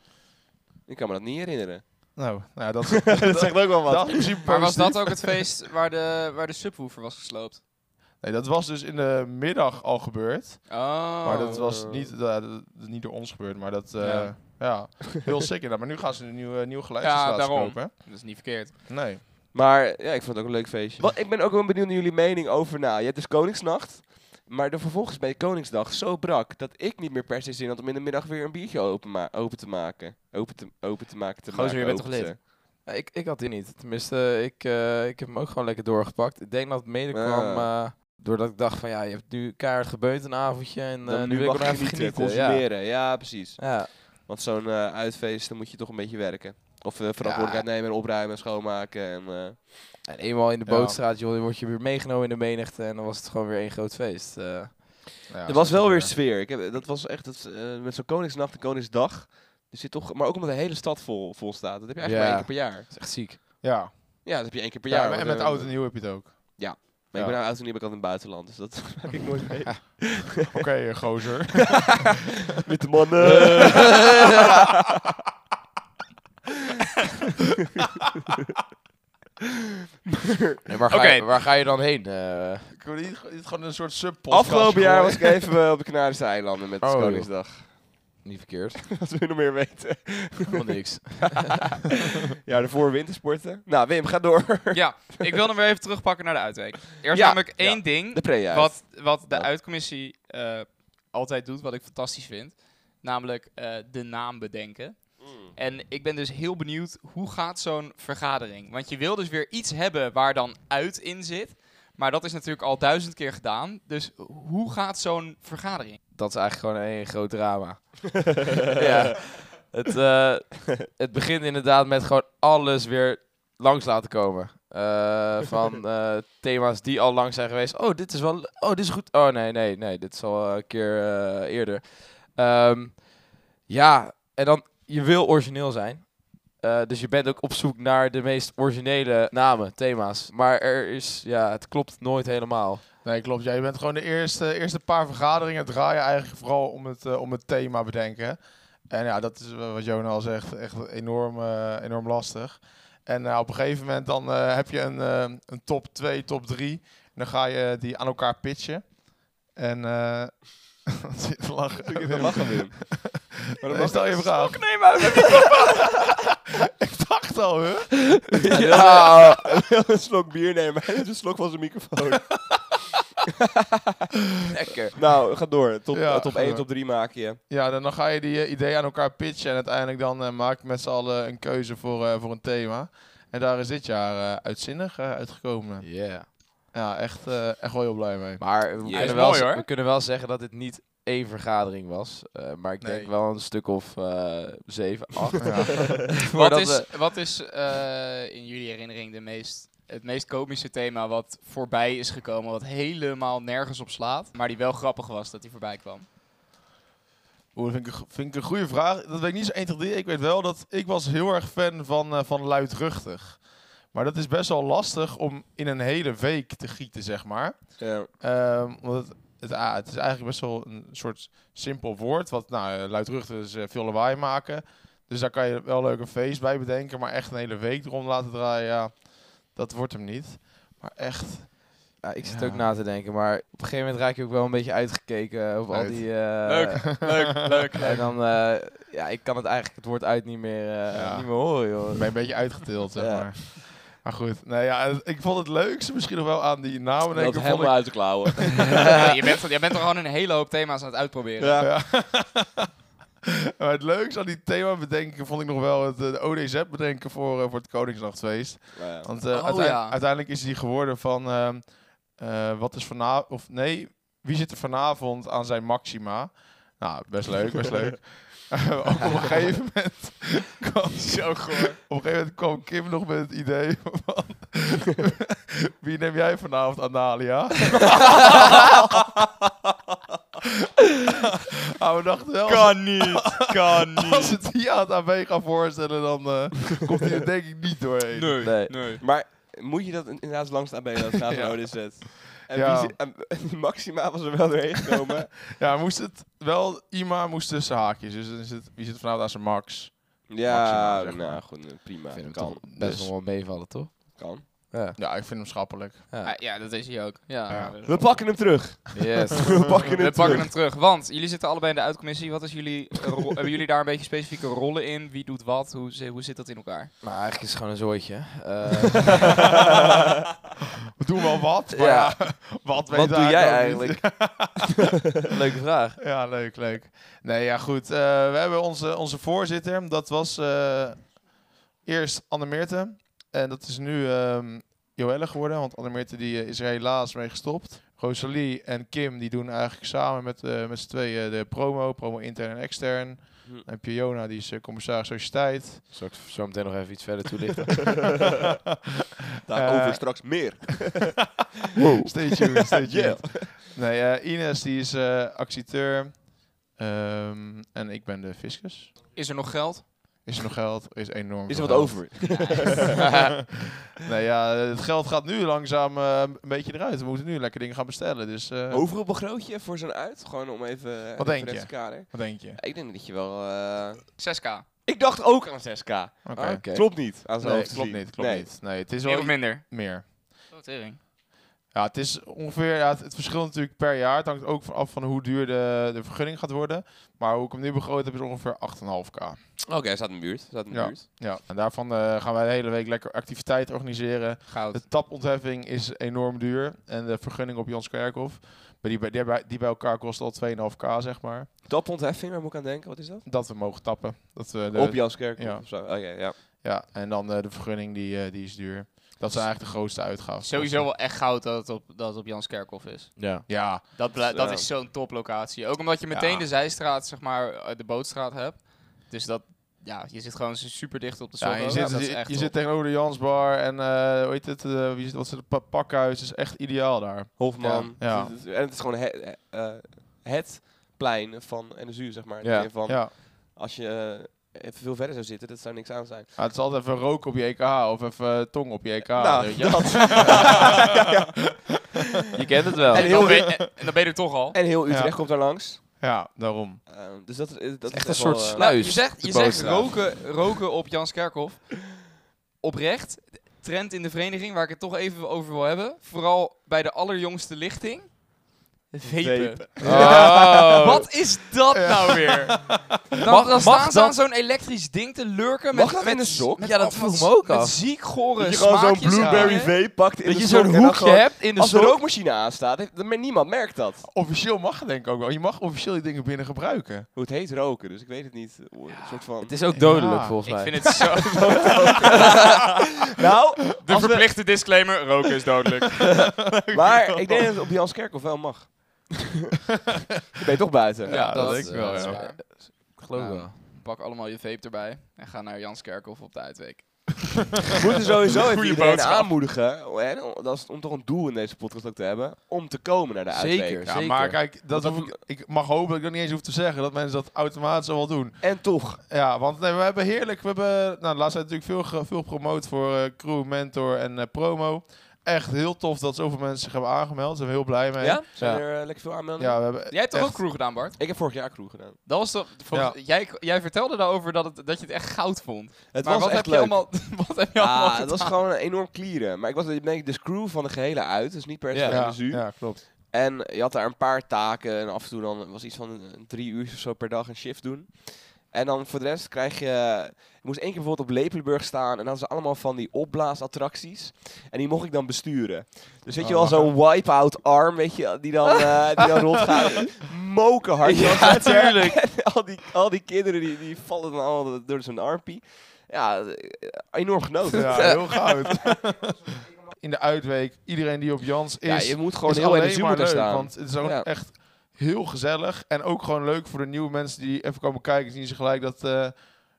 [SPEAKER 1] ik kan me dat niet herinneren.
[SPEAKER 3] Nou, nou ja, <laughs> dat, dat,
[SPEAKER 1] <laughs> dat zegt ook wel wat.
[SPEAKER 3] is in principe
[SPEAKER 2] Maar was
[SPEAKER 3] positief.
[SPEAKER 2] dat ook het feest waar de, waar de subwoofer was gesloopt?
[SPEAKER 3] Nee, dat was dus in de middag al gebeurd.
[SPEAKER 2] Oh.
[SPEAKER 3] Maar dat was niet, eh, dat- dat is niet door ons gebeurd. Maar dat... eh, ja.
[SPEAKER 2] Ja.
[SPEAKER 3] heel sick inderdaad. Maar nu gaan ze een nieuwe, nieuwe
[SPEAKER 2] Ja,
[SPEAKER 3] geluidsinstallatie
[SPEAKER 2] daarom.
[SPEAKER 3] kopen.
[SPEAKER 2] Dat is niet verkeerd.
[SPEAKER 3] hè? Nee.
[SPEAKER 1] Maar ja, ik vond het ook een leuk feestje. Wat, ik ben ook wel benieuwd naar jullie mening over na. Je hebt dus Koningsnacht. Maar dan vervolgens bij Koningsdag zo brak dat ik niet meer per se zin had om in de middag weer een biertje open, ma- open te maken. Open te, open te maken. Te
[SPEAKER 2] Gozer,
[SPEAKER 1] maken,
[SPEAKER 2] je bent
[SPEAKER 1] open
[SPEAKER 2] toch
[SPEAKER 1] te-
[SPEAKER 2] lid?
[SPEAKER 4] ik, ik had die niet. Tenminste, ik, eh, ik heb hem ook gewoon lekker doorgepakt. Ik denk dat het mede kwam
[SPEAKER 1] Ah.
[SPEAKER 4] eh, doordat ik dacht van ja, je hebt nu keihard gebeurd een avondje. En eh,
[SPEAKER 1] Dan
[SPEAKER 4] nu
[SPEAKER 1] nu
[SPEAKER 4] wil ik
[SPEAKER 1] mag
[SPEAKER 4] nog
[SPEAKER 1] je
[SPEAKER 4] even
[SPEAKER 1] genieten,
[SPEAKER 4] genieten. Ja.
[SPEAKER 1] consumeren. Ja. precies.
[SPEAKER 4] Ja.
[SPEAKER 1] Want zo'n eh, uitfeest, dan moet je toch een beetje werken. Of eh, verantwoordelijkheid nemen en opruimen en schoonmaken. En, eh,
[SPEAKER 4] En eenmaal in de
[SPEAKER 3] Ja.
[SPEAKER 4] bootstraat joh, dan word je weer meegenomen in de menigte. En dan was het gewoon weer één groot feest. eh.
[SPEAKER 3] Ja,
[SPEAKER 1] er
[SPEAKER 3] dat
[SPEAKER 1] was
[SPEAKER 3] is
[SPEAKER 1] wel
[SPEAKER 3] ook
[SPEAKER 1] weer sfeer. Ik heb, dat was echt dat, eh, met zo'n Koningsnacht en Koningsdag. Er zit toch, maar ook omdat de hele stad vol, vol staat. Dat heb je eigenlijk
[SPEAKER 4] Ja.
[SPEAKER 1] maar één keer per jaar.
[SPEAKER 4] dat is echt ziek.
[SPEAKER 3] Ja.
[SPEAKER 1] Ja, dat heb je één keer per
[SPEAKER 3] Ja,
[SPEAKER 1] jaar.
[SPEAKER 3] maar- en
[SPEAKER 1] want,
[SPEAKER 3] met
[SPEAKER 1] eh,
[SPEAKER 3] oud en nieuw heb je het ook.
[SPEAKER 1] Maar
[SPEAKER 3] Ja.
[SPEAKER 1] ik ben nou oud en nu ben ik altijd in het buitenland, dus dat maak ik nooit mee.
[SPEAKER 3] Oké, eh, gozer.
[SPEAKER 1] <laughs> Met de mannen!
[SPEAKER 4] Nee, waar, ga
[SPEAKER 2] Oké.
[SPEAKER 4] je, waar ga je dan heen? eh?
[SPEAKER 3] <laughs> Ik wil niet, niet gewoon een soort sub
[SPEAKER 1] Afgelopen jaar was ik even eh, op de Canarische eilanden met
[SPEAKER 4] Oh, joh.
[SPEAKER 1] Koningsdag. <laughs>
[SPEAKER 4] niet verkeerd.
[SPEAKER 1] Wat wil je nog meer
[SPEAKER 3] <laughs>
[SPEAKER 1] weten?
[SPEAKER 4] Helemaal niks.
[SPEAKER 1] Ja, daarvoor wintersporten. Nou, Wim, ga door.
[SPEAKER 2] ja, ik wil hem weer even terugpakken naar de uitweek. Er is
[SPEAKER 1] Ja.
[SPEAKER 2] namelijk één
[SPEAKER 1] Ja.
[SPEAKER 2] ding
[SPEAKER 1] De pre
[SPEAKER 2] wat, wat de
[SPEAKER 1] Ja.
[SPEAKER 2] uitcommissie eh, altijd doet, wat ik fantastisch vind. Namelijk eh, de naam bedenken. En ik ben dus heel benieuwd, hoe gaat zo'n vergadering? Want je wil dus weer iets hebben waar dan uit in zit. Maar dat is natuurlijk al duizend keer gedaan. Dus hoe gaat zo'n vergadering?
[SPEAKER 4] dat is eigenlijk gewoon één groot drama. ja. het, eh, het begint inderdaad met gewoon alles weer langs laten komen. Eh, van eh, thema's die al lang zijn geweest. Oh, dit is wel. Oh, dit is goed. Oh, nee, nee, nee. Dit is al eh, een keer eh, eerder. Ehm, ja, en dan. Je wil origineel zijn. Eh, dus je bent ook op zoek naar de meest originele namen, thema's. Maar er is, ja, het klopt nooit helemaal.
[SPEAKER 3] Nee, klopt. Jij bent gewoon de eerste, eerste paar vergaderingen draaien eigenlijk vooral om het, eh, om het thema bedenken. En ja, dat is eh, wat Jona al zegt, echt enorm, eh, enorm lastig. En eh, op een gegeven moment dan eh, heb je een, eh, een top 2, top 3. En dan ga je die aan elkaar pitchen. En eh <laughs> wat zit je te lachen.
[SPEAKER 1] Ik heb lachen,
[SPEAKER 3] <laughs>
[SPEAKER 1] Wim.
[SPEAKER 3] Nee, stel je vraag.
[SPEAKER 5] Neem uit mijn
[SPEAKER 3] Ik dacht al, hè?
[SPEAKER 1] Ja, hij wil een slok bier nemen. <laughs> Hij heeft een slok van zijn
[SPEAKER 3] <laughs>
[SPEAKER 1] microfoon.
[SPEAKER 4] Lekker.
[SPEAKER 1] nou, ga door. Top,
[SPEAKER 3] Ja,
[SPEAKER 1] eh, top
[SPEAKER 3] ga
[SPEAKER 1] 1,
[SPEAKER 3] door.
[SPEAKER 1] top 3 maak je. Eh,
[SPEAKER 3] Ja, dan, dan ga je die eh, ideeën aan elkaar pitchen. En uiteindelijk dan eh, maak je met z'n allen een keuze voor, eh, voor een thema. En daar is dit jaar eh, uitzinnig eh, uitgekomen.
[SPEAKER 4] Yeah.
[SPEAKER 3] Ja, echt, eh, echt wel heel blij mee.
[SPEAKER 4] Maar we,
[SPEAKER 1] Ja,
[SPEAKER 4] kunnen
[SPEAKER 1] is
[SPEAKER 4] wel
[SPEAKER 2] mooi,
[SPEAKER 4] z-
[SPEAKER 2] hoor.
[SPEAKER 4] we kunnen wel zeggen dat dit niet één vergadering was. Eh, maar ik denk
[SPEAKER 3] Nee.
[SPEAKER 4] wel een stuk of eh, <laughs> zeven, acht.
[SPEAKER 3] Ja.
[SPEAKER 4] Voordat
[SPEAKER 2] Wat is,
[SPEAKER 4] we-
[SPEAKER 2] wat is eh, in jullie herinnering de meest, het meest komische thema wat voorbij is gekomen, wat helemaal nergens op slaat, maar die wel grappig was dat die voorbij kwam?
[SPEAKER 3] Oeh, dat vind ik, een go- vind ik een goede vraag. Dat weet ik niet zo 1 tot 3. Ik weet wel dat ik was heel erg fan van, eh, van luidruchtig. Maar dat is best wel lastig om in een hele week te gieten, zeg maar.
[SPEAKER 1] Ja.
[SPEAKER 3] Ehm, omdat het, het, ah, het is eigenlijk best wel een soort simpel woord. Wat nou, eh, luidruchtig is eh, veel lawaai maken. Dus daar kan je wel leuk een feest bij bedenken. Maar echt een hele week erom laten draaien, ja, dat wordt hem niet. Maar echt,
[SPEAKER 4] Ja, ik zit
[SPEAKER 3] Ja.
[SPEAKER 4] ook na te denken, maar op een gegeven moment raak je ook wel een beetje uitgekeken op al
[SPEAKER 3] Uit.
[SPEAKER 4] die... eh,
[SPEAKER 3] <laughs>
[SPEAKER 2] Leuk, leuk, leuk.
[SPEAKER 4] <laughs> En dan, eh, ja, ik kan het eigenlijk het woord uit niet meer, eh,
[SPEAKER 3] Ja.
[SPEAKER 4] niet meer horen, joh.
[SPEAKER 3] Ik ben een beetje uitgetild, zeg
[SPEAKER 4] Ja.
[SPEAKER 3] maar. Maar goed, nee, ja, ik vond het leukste misschien nog wel aan die namen.
[SPEAKER 1] Dat
[SPEAKER 3] denken, vond
[SPEAKER 1] helemaal
[SPEAKER 3] ik-
[SPEAKER 1] uit de
[SPEAKER 3] <laughs>
[SPEAKER 1] klauwen.
[SPEAKER 2] Ja, je, bent, je bent er gewoon een hele hoop thema's aan het uitproberen.
[SPEAKER 1] Ja.
[SPEAKER 3] Ja. <laughs> maar het leukste aan die thema bedenken vond ik nog wel het eh, de ODZ bedenken voor, eh, voor het Koningsnachtfeest.
[SPEAKER 1] Nou ja.
[SPEAKER 3] Want eh,
[SPEAKER 2] Oh,
[SPEAKER 3] uiteindelijk,
[SPEAKER 2] ja.
[SPEAKER 3] uiteindelijk is die geworden van ehm, eh, wat is vanavond, of nee, wie zit er vanavond aan zijn maxima? Nou, best leuk, best
[SPEAKER 5] <laughs>
[SPEAKER 3] leuk. <laughs> ook op een gegeven moment kwam
[SPEAKER 2] Zo goor.
[SPEAKER 3] Op een gegeven moment kwam Kim nog met het idee van... <laughs> Wie neem jij vanavond,
[SPEAKER 5] <laughs>
[SPEAKER 3] Analia? maar Ah, we dachten wel, als,
[SPEAKER 5] <laughs> Kan niet,
[SPEAKER 2] <laughs>
[SPEAKER 5] kan niet.
[SPEAKER 3] als het die aan het AB gaan voorstellen, dan eh, komt hij er denk ik niet doorheen.
[SPEAKER 5] Nee,
[SPEAKER 4] Nee.
[SPEAKER 5] nee.
[SPEAKER 1] Maar moet je dat in- inderdaad langs de AB laten gaan van
[SPEAKER 3] <laughs> Ja.
[SPEAKER 1] ODZ? En,
[SPEAKER 3] Ja.
[SPEAKER 1] wie zi- en <laughs> Maxima was er wel doorheen
[SPEAKER 3] <laughs>
[SPEAKER 1] gekomen.
[SPEAKER 3] Ja, moest het wel... Ima moest tussen haakjes, dus dan is het, wie zit vanavond aan zijn max? Maxima,
[SPEAKER 1] ja,
[SPEAKER 3] zeg maar.
[SPEAKER 1] nou goed, eh, prima.
[SPEAKER 4] Ik vind hem
[SPEAKER 1] kan,
[SPEAKER 4] toch best
[SPEAKER 3] dus.
[SPEAKER 4] nog wel meevallen, toch?
[SPEAKER 1] kan.
[SPEAKER 4] Ja.
[SPEAKER 3] Ja, ik vind hem schappelijk. <laughs>
[SPEAKER 2] Ah, ja, dat is hij ook. Ja.
[SPEAKER 3] Ja.
[SPEAKER 1] We pakken hem <laughs> terug.
[SPEAKER 4] Ah, <laughs> Yes.
[SPEAKER 1] We pakken hem
[SPEAKER 2] We pakken
[SPEAKER 1] terug.
[SPEAKER 2] hem terug, want jullie zitten allebei in de uitcommissie. Wat is jullie eh,
[SPEAKER 5] <laughs>
[SPEAKER 2] ro- hebben jullie daar een beetje specifieke rollen in? Wie doet wat? Hoe, zi- hoe zit dat in elkaar?
[SPEAKER 4] maar eigenlijk is het gewoon een zooitje. Eh,
[SPEAKER 3] We doen wel
[SPEAKER 4] <laughs>
[SPEAKER 3] wat, maar
[SPEAKER 4] Ja.
[SPEAKER 3] ja, wat nou weet
[SPEAKER 4] wat doe jij
[SPEAKER 3] eigenlijk ook niet.
[SPEAKER 4] eigenlijk? <laughs> Leuke vraag.
[SPEAKER 3] <laughs> Ja, leuk, leuk. Nee, ja, goed. Eh, we hebben onze, onze voorzitter. Dat was eh, eerst Anne Meerte. En dat is nu ehm Joelle geworden. Want Anne Meerte die, eh, is er helaas mee gestopt. Rosalie en Kim die doen eigenlijk samen met, eh, met z'n tweeën de promo. Promo intern en extern.
[SPEAKER 1] Hm.
[SPEAKER 3] Dan heb je Jona, die is eh,
[SPEAKER 4] <laughs>
[SPEAKER 3] commissaris sociëteit.
[SPEAKER 4] Zal ik zo meteen nog even iets verder toelichten?
[SPEAKER 1] Daarover
[SPEAKER 3] Eh,
[SPEAKER 1] straks meer.
[SPEAKER 3] Stay tuned, stay tuned. Nee, eh, Ines die is eh acteur. Ehm, en ik ben de fiscus.
[SPEAKER 2] Is er nog geld?
[SPEAKER 3] Is er nog geld? Er Is enorm
[SPEAKER 1] Is er
[SPEAKER 3] veel
[SPEAKER 1] wat
[SPEAKER 3] geld.
[SPEAKER 1] over?
[SPEAKER 3] <laughs> nee, ja, het geld gaat nu langzaam eh, een beetje eruit. We moeten nu lekker dingen gaan bestellen. Dus eh,
[SPEAKER 1] Overal begroot je voor zo'n uit? Gewoon om even...
[SPEAKER 3] Wat denk je?
[SPEAKER 1] referentiekader.
[SPEAKER 3] wat denk je?
[SPEAKER 1] Ja, ik denk dat je wel... eh,
[SPEAKER 2] 6k.
[SPEAKER 1] Ik dacht ook aan 6k.
[SPEAKER 3] Oké.
[SPEAKER 4] Oké.
[SPEAKER 1] Klopt niet. Aan zijn
[SPEAKER 3] Nee,
[SPEAKER 1] hoofd te
[SPEAKER 3] klopt
[SPEAKER 1] zien.
[SPEAKER 3] niet, klopt
[SPEAKER 1] Ah, Nee.
[SPEAKER 3] niet. Nee, het is
[SPEAKER 2] Nee,
[SPEAKER 3] wel
[SPEAKER 2] of minder.
[SPEAKER 3] iets meer.
[SPEAKER 2] Oh, tering.
[SPEAKER 3] Ja, het is ongeveer, ja, het, het verschilt natuurlijk per jaar. Het hangt ook van af van hoe duur de, de vergunning gaat worden. Maar hoe ik hem nu begroot heb, is ongeveer 8,5k.
[SPEAKER 1] Oké, hij staat in de buurt. Staat in de
[SPEAKER 3] Ja.
[SPEAKER 1] buurt.
[SPEAKER 3] Ja, en daarvan eh, gaan wij de hele week lekker activiteiten organiseren.
[SPEAKER 2] Goud.
[SPEAKER 3] De tapontheffing is enorm duur. En de vergunning op Jans Kerkhof, maar die, bij- die, bij- die bij elkaar kost al 2,5k, zeg maar.
[SPEAKER 1] Tapontheffing, waar moet ik aan denken? Wat is dat?
[SPEAKER 3] Dat we mogen tappen. Dat we de,
[SPEAKER 1] Op Janskerk
[SPEAKER 3] ja.
[SPEAKER 1] of zo. Oké, ja.
[SPEAKER 3] Ja, en dan eh, de vergunning, die, eh, die is duur. Dat zijn eigenlijk de grootste uitgaven.
[SPEAKER 2] Dus- Sowieso wel echt goud dat het op, dat het op Janskerkhof is.
[SPEAKER 4] ja.
[SPEAKER 3] Ja,
[SPEAKER 2] Dat, blij-
[SPEAKER 1] Zo.
[SPEAKER 2] dat is zo'n toplocatie. Ook omdat je meteen
[SPEAKER 3] Dus, eh, Ja.
[SPEAKER 2] de zijstraat, zeg maar, eh, de bootstraat hebt. Dus dat, ja, je zit gewoon super dicht op de
[SPEAKER 3] ja
[SPEAKER 2] zon.
[SPEAKER 3] en je, zit,
[SPEAKER 2] dat is
[SPEAKER 3] je,
[SPEAKER 2] echt
[SPEAKER 3] je
[SPEAKER 2] top.
[SPEAKER 3] zit tegenover de Jansbar en eh hoe heet het, eh, wie zit, wat is het, pa- pakhuis is echt ideaal daar.
[SPEAKER 1] Hofman.
[SPEAKER 3] Ja. Ja.
[SPEAKER 1] Het is- En het is gewoon he- eh, eh, het plein van NSU, zeg maar. In de
[SPEAKER 4] Ja.
[SPEAKER 1] zin van,
[SPEAKER 3] ja,
[SPEAKER 1] als je eh, even veel verder zou zitten, dat zou niks aan zijn.
[SPEAKER 3] Ah, het is altijd even rook op je EK of even eh, tong op je EK.
[SPEAKER 1] nou,
[SPEAKER 3] weet je.
[SPEAKER 1] dat.
[SPEAKER 4] Je kent het <laughs> wel.
[SPEAKER 1] En
[SPEAKER 2] En,
[SPEAKER 1] heel-
[SPEAKER 2] dan ben, en, en dan ben je er toch al.
[SPEAKER 1] En heel Utrecht
[SPEAKER 3] Ja.
[SPEAKER 1] komt daar langs.
[SPEAKER 3] Ja, daarom.
[SPEAKER 1] Ehm, dus dat, eh, dat
[SPEAKER 4] echt
[SPEAKER 1] is
[SPEAKER 4] een
[SPEAKER 1] wel,
[SPEAKER 4] soort
[SPEAKER 1] eh,
[SPEAKER 4] sluis.
[SPEAKER 2] Nou, je zegt,
[SPEAKER 4] de
[SPEAKER 2] je zegt
[SPEAKER 4] bovengraaf.
[SPEAKER 2] roken, roken op Jans Kerkhoff. Oprecht, trend in de vereniging waar ik het toch even over wil hebben. Vooral bij de allerjongste lichting. Vepen. <laughs>
[SPEAKER 4] Oh.
[SPEAKER 2] Wat is dat nou weer? Dan,
[SPEAKER 4] Mag-
[SPEAKER 2] dan
[SPEAKER 4] mag
[SPEAKER 2] staan ze
[SPEAKER 4] dat-
[SPEAKER 2] aan zo'n elektrisch ding te lurken.
[SPEAKER 1] Mag
[SPEAKER 2] met,
[SPEAKER 1] dat
[SPEAKER 2] met,
[SPEAKER 1] in een sok?
[SPEAKER 2] met
[SPEAKER 4] Ja, dat
[SPEAKER 2] allemaal
[SPEAKER 4] vroeg me ook
[SPEAKER 2] met
[SPEAKER 4] af.
[SPEAKER 2] ziek gore
[SPEAKER 1] dat je gewoon zo'n
[SPEAKER 2] smaakjes
[SPEAKER 1] blueberry
[SPEAKER 2] aan, hè?
[SPEAKER 1] vape pakt in
[SPEAKER 4] Dat
[SPEAKER 1] de
[SPEAKER 4] je
[SPEAKER 1] sok
[SPEAKER 4] zo'n
[SPEAKER 1] en dan
[SPEAKER 4] hoekje
[SPEAKER 1] gewoon-
[SPEAKER 4] hebt in de
[SPEAKER 1] Als de
[SPEAKER 4] sok.
[SPEAKER 1] rookmachine aanstaat, heeft- dan- maar niemand merkt dat.
[SPEAKER 3] Officieel mag het denk ik ook wel. Je mag officieel die dingen binnen gebruiken.
[SPEAKER 1] Hoe het heet roken, dus ik weet het niet. Hoe- Een soort van...
[SPEAKER 4] Het is ook dodelijk
[SPEAKER 3] Ja,
[SPEAKER 4] volgens
[SPEAKER 2] Ik
[SPEAKER 4] mij.
[SPEAKER 2] vind het zo... <laughs>
[SPEAKER 1] nou,
[SPEAKER 2] De verplichte disclaimer, roken is dodelijk.
[SPEAKER 1] maar ik denk dat het op Jans Kerkhoff wel mag. dan ben je toch buiten.
[SPEAKER 2] Ja, dat
[SPEAKER 3] denk ik wel,
[SPEAKER 2] is
[SPEAKER 3] ja.
[SPEAKER 2] waar.
[SPEAKER 4] Ik geloof
[SPEAKER 2] Nou,
[SPEAKER 4] wel.
[SPEAKER 2] Pak allemaal je vape erbij en ga naar Jans Kerkhoff op de uitweek.
[SPEAKER 1] We moeten sowieso even
[SPEAKER 2] Goeie
[SPEAKER 1] iedereen
[SPEAKER 2] boodschap.
[SPEAKER 1] aanmoedigen, oh, hè, om- dat is om toch een doel in deze podcast ook te hebben, om te komen naar de uitweek.
[SPEAKER 4] Zeker.
[SPEAKER 3] Ja, maar kijk, dat
[SPEAKER 1] Want
[SPEAKER 3] hoef ik, ik mag hopen dat ik dat niet eens hoef te zeggen. Dat mensen dat automatisch al wel doen.
[SPEAKER 1] En toch,
[SPEAKER 3] Ja, want nee, we hebben heerlijk. We hebben nou, de laatste tijd natuurlijk veel, ge- veel promoot voor eh, crew, mentor en eh, promo. Echt heel tof dat zoveel mensen zich hebben aangemeld. Daar zijn we heel blij mee.
[SPEAKER 2] Ja?
[SPEAKER 1] zijn
[SPEAKER 4] Ja.
[SPEAKER 1] er eh, lekker veel aanmeldingen.
[SPEAKER 3] Ja, we hebben
[SPEAKER 2] Jij hebt toch
[SPEAKER 3] echt-
[SPEAKER 2] ook crew gedaan, Bart?
[SPEAKER 1] Ik heb vorig jaar crew gedaan.
[SPEAKER 2] Dat was toch... volgens- Jij, jij vertelde daarover dat, het, dat je het echt goud vond.
[SPEAKER 1] Het
[SPEAKER 2] maar
[SPEAKER 1] was
[SPEAKER 2] wat,
[SPEAKER 1] echt
[SPEAKER 2] heb
[SPEAKER 1] leuk.
[SPEAKER 2] Je allemaal, <laughs> wat heb je allemaal
[SPEAKER 1] ah, het was gewoon een enorm klieren. Maar ik was denk ik de screw van de gehele uit, dus niet per se
[SPEAKER 4] Ja.
[SPEAKER 1] van
[SPEAKER 3] Ja,
[SPEAKER 1] de zuur.
[SPEAKER 3] ja, klopt.
[SPEAKER 1] En je had daar een paar taken en af en toe dan was iets van een- drie uur of zo per dag een shift doen. En dan voor de rest krijg je... Ik moest één keer bijvoorbeeld op Lepelenburg staan en dan hadden ze allemaal van die opblaasattracties. En die mocht ik dan besturen. Dus weet je
[SPEAKER 3] Oh,
[SPEAKER 1] wel, zo'n wipe-out arm, weet je, die dan, eh die dan rondgaat. Moken hard. Ja, <laughs> natuurlijk. al, die, al die kinderen die, die vallen dan allemaal door zo'n armpie. Ja, eh, enorm genoten.
[SPEAKER 3] Ja,
[SPEAKER 1] <laughs>
[SPEAKER 3] heel goud. In de uitweek, iedereen die op Jans is,
[SPEAKER 1] Ja, je moet gewoon
[SPEAKER 3] is
[SPEAKER 1] heel in de
[SPEAKER 3] alleen
[SPEAKER 1] zomer
[SPEAKER 3] maar
[SPEAKER 1] gaan
[SPEAKER 3] leuk.
[SPEAKER 1] staan.
[SPEAKER 3] Want het is ook
[SPEAKER 1] Ja.
[SPEAKER 3] echt heel gezellig. En ook gewoon leuk voor de nieuwe mensen die even komen kijken. Zien ze gelijk dat eh,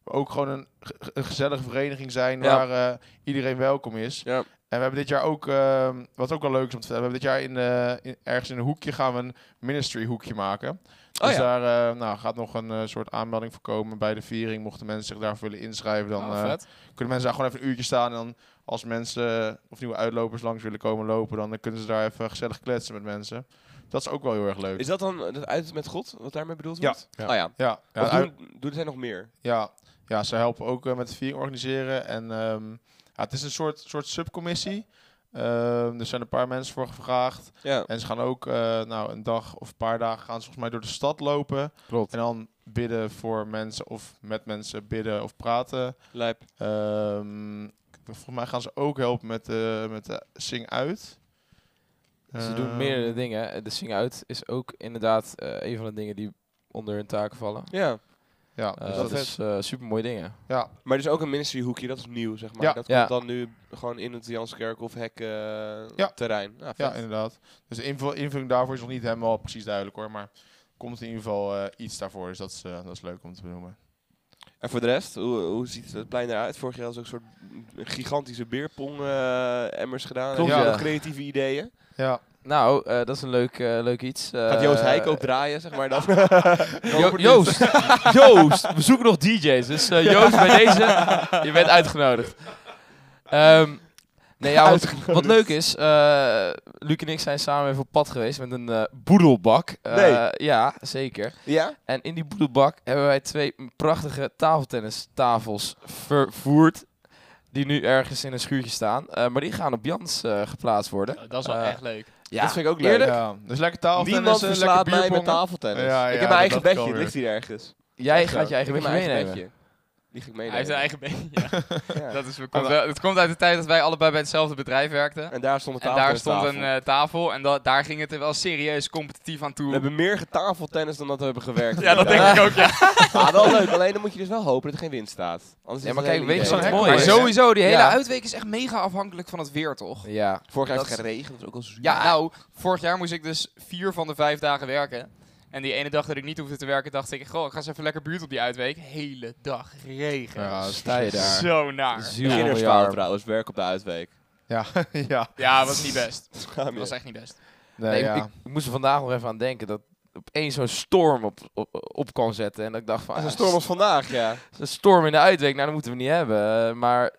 [SPEAKER 3] we ook gewoon een, ge- ge- een gezellige vereniging zijn
[SPEAKER 1] Ja.
[SPEAKER 3] waar eh, iedereen welkom is.
[SPEAKER 1] Ja.
[SPEAKER 3] En we hebben dit jaar ook, ehm, wat ook wel leuk is om te vertellen, we hebben dit jaar in, eh, in- ergens in een hoekje gaan we een ministry hoekje maken.
[SPEAKER 1] Oh
[SPEAKER 3] dus
[SPEAKER 1] ja.
[SPEAKER 3] daar eh, nou, gaat nog een eh, soort aanmelding voor komen bij de viering. Mochten mensen zich daarvoor willen inschrijven, dan
[SPEAKER 2] Oh,
[SPEAKER 3] eh,
[SPEAKER 2] vet.
[SPEAKER 3] kunnen mensen daar gewoon even een uurtje staan. En dan als mensen eh, of nieuwe uitlopers langs willen komen lopen, dan eh, kunnen ze daar even gezellig kletsen met mensen. Dat is ook wel heel erg leuk.
[SPEAKER 1] Is dat dan het uit met God, wat daarmee bedoeld
[SPEAKER 3] Ja.
[SPEAKER 1] wordt?
[SPEAKER 3] Ja.
[SPEAKER 1] Oh ja.
[SPEAKER 3] ja, ja,
[SPEAKER 1] Of
[SPEAKER 3] uit-
[SPEAKER 1] doen, doen zij nog meer?
[SPEAKER 3] ja, ja, ze helpen ook eh, met de viering organiseren. En ehm, ja, het is een soort, soort subcommissie. Ehm, er zijn een paar mensen voor gevraagd.
[SPEAKER 1] Ja.
[SPEAKER 3] En ze gaan ook eh, nou, een dag of een paar dagen gaan ze volgens mij door de stad lopen.
[SPEAKER 4] Klopt.
[SPEAKER 3] En dan bidden voor mensen of met mensen bidden of praten.
[SPEAKER 1] Lijp.
[SPEAKER 3] Ehm, volgens mij gaan ze ook helpen met, eh met de Sing Uit.
[SPEAKER 4] Ze
[SPEAKER 3] Ehm,
[SPEAKER 4] doen meerdere dingen. eh, De Sing Out is ook inderdaad eh, een van de dingen die onder hun taken vallen.
[SPEAKER 1] Ja.
[SPEAKER 3] Ja,
[SPEAKER 4] Eh,
[SPEAKER 3] dus dat
[SPEAKER 4] dat
[SPEAKER 3] is,
[SPEAKER 4] is eh super mooie dingen.
[SPEAKER 3] ja,
[SPEAKER 1] Maar dus ook een ministry hoekje, dat is nieuw, zeg maar.
[SPEAKER 3] Ja.
[SPEAKER 1] Dat
[SPEAKER 4] Ja.
[SPEAKER 1] komt dan nu gewoon in het Janskerkhof hek eh, terrein. Nou,
[SPEAKER 3] ja,
[SPEAKER 1] vet.
[SPEAKER 3] inderdaad. Dus de invul- invulling daarvoor is nog niet helemaal precies duidelijk hoor. Maar komt in ieder geval eh, iets daarvoor. Dus dat is, eh, dat is leuk om te benoemen.
[SPEAKER 1] En voor de rest, hoe, hoe ziet het plein eruit? Vorig jaar was ook een soort gigantische beerpong-emmers gedaan.
[SPEAKER 4] Klopt,
[SPEAKER 1] Heb je
[SPEAKER 4] ja.
[SPEAKER 1] nog creatieve ideeën.
[SPEAKER 3] Ja,
[SPEAKER 4] Nou, eh, dat is een leuk, eh, leuk iets.
[SPEAKER 1] Gaat
[SPEAKER 4] Eh,
[SPEAKER 1] Joost Heijk ook draaien, zeg maar <laughs> dan?
[SPEAKER 4] Jo- Joost, <laughs> Joost, we zoeken nog DJ's. Dus eh, Joost, bij deze, je bent uitgenodigd. Ehm, nee, ja, wat, wat leuk is, eh Luc en ik zijn samen even op pad geweest met een eh, boedelbak. Eh,
[SPEAKER 1] Nee.
[SPEAKER 4] Ja, zeker.
[SPEAKER 1] ja?
[SPEAKER 4] En in die boedelbak hebben wij twee prachtige tafeltennistafels vervoerd. Die nu ergens in een schuurtje staan. Eh, maar die gaan op Jans eh, geplaatst worden.
[SPEAKER 2] Dat is wel
[SPEAKER 4] Eh,
[SPEAKER 2] echt leuk.
[SPEAKER 4] Ja,
[SPEAKER 1] dat vind ik ook leuk.
[SPEAKER 4] eerlijk?
[SPEAKER 3] ja. dus lekker taal.
[SPEAKER 1] Niemand verslaat mij met tafeltennis.
[SPEAKER 3] Ja,
[SPEAKER 1] ik
[SPEAKER 3] ja,
[SPEAKER 1] heb mijn eigen
[SPEAKER 3] dat dacht ik
[SPEAKER 1] bedje, het
[SPEAKER 3] alweer.
[SPEAKER 1] ligt hier ergens.
[SPEAKER 4] jij
[SPEAKER 3] Echt
[SPEAKER 4] gaat je
[SPEAKER 3] waar.
[SPEAKER 4] eigen
[SPEAKER 1] ik heb
[SPEAKER 4] beetje
[SPEAKER 1] mijn eigen
[SPEAKER 4] meenemen.
[SPEAKER 1] bedje. Die ging ik
[SPEAKER 2] Hij
[SPEAKER 1] meenemen.
[SPEAKER 2] heeft een eigen been. <laughs> ja.
[SPEAKER 1] Ja.
[SPEAKER 2] Dat is, het, komt, wel- het komt uit de tijd dat wij allebei bij hetzelfde bedrijf werkten.
[SPEAKER 1] En daar stond een
[SPEAKER 2] En
[SPEAKER 1] tafel.
[SPEAKER 2] daar stond een eh, tafel en da- daar ging het er wel serieus competitief aan
[SPEAKER 1] We
[SPEAKER 2] toe.
[SPEAKER 1] hebben meer getafeltennis dan dat we hebben gewerkt.
[SPEAKER 2] Ja, dat denk ik ook, ja.
[SPEAKER 1] Ah, wel leuk. Alleen dan moet je dus wel hopen dat er geen wind staat. Anders
[SPEAKER 4] Ja,
[SPEAKER 1] is
[SPEAKER 4] maar
[SPEAKER 1] het
[SPEAKER 4] kijk,
[SPEAKER 1] een
[SPEAKER 4] weet je
[SPEAKER 1] hele
[SPEAKER 4] wat
[SPEAKER 1] idee.
[SPEAKER 4] mooi
[SPEAKER 2] Maar
[SPEAKER 4] is?
[SPEAKER 2] sowieso, die hele
[SPEAKER 4] Ja.
[SPEAKER 2] uitweek is echt mega afhankelijk van het weer, toch?
[SPEAKER 4] Ja,
[SPEAKER 1] Vorig jaar
[SPEAKER 2] Dat
[SPEAKER 1] heeft het geregend, dat is ook al zuur.
[SPEAKER 2] Ja, nou, vorig jaar moest ik dus vier van de vijf dagen werken. En die ene dag dat ik niet hoefde te werken, dacht ik, goh, ik ga eens even lekker buurt op die uitweek. Hele dag regen.
[SPEAKER 3] Ja, dus-
[SPEAKER 4] sta je daar.
[SPEAKER 2] Zo naar.
[SPEAKER 4] Ziel onder je
[SPEAKER 1] Kinderspaal
[SPEAKER 4] arm.
[SPEAKER 1] trouwens, werk op de uitweek.
[SPEAKER 3] <laughs>
[SPEAKER 1] <laughs>
[SPEAKER 3] Ja, <laughs> ja.
[SPEAKER 2] Ja, was niet best.
[SPEAKER 1] Schaam je.
[SPEAKER 2] was echt niet best.
[SPEAKER 3] Nee,
[SPEAKER 4] Nee, ik-
[SPEAKER 3] ja.
[SPEAKER 4] ik, ik moest er vandaag nog even aan denken dat opeens zo'n storm op, op, op kan zetten. En dat ik dacht van,
[SPEAKER 1] Als
[SPEAKER 4] ah,
[SPEAKER 1] een storm als vandaag, ja.
[SPEAKER 4] een storm in de uitweek, nou dat moeten we niet hebben. Eh, maar,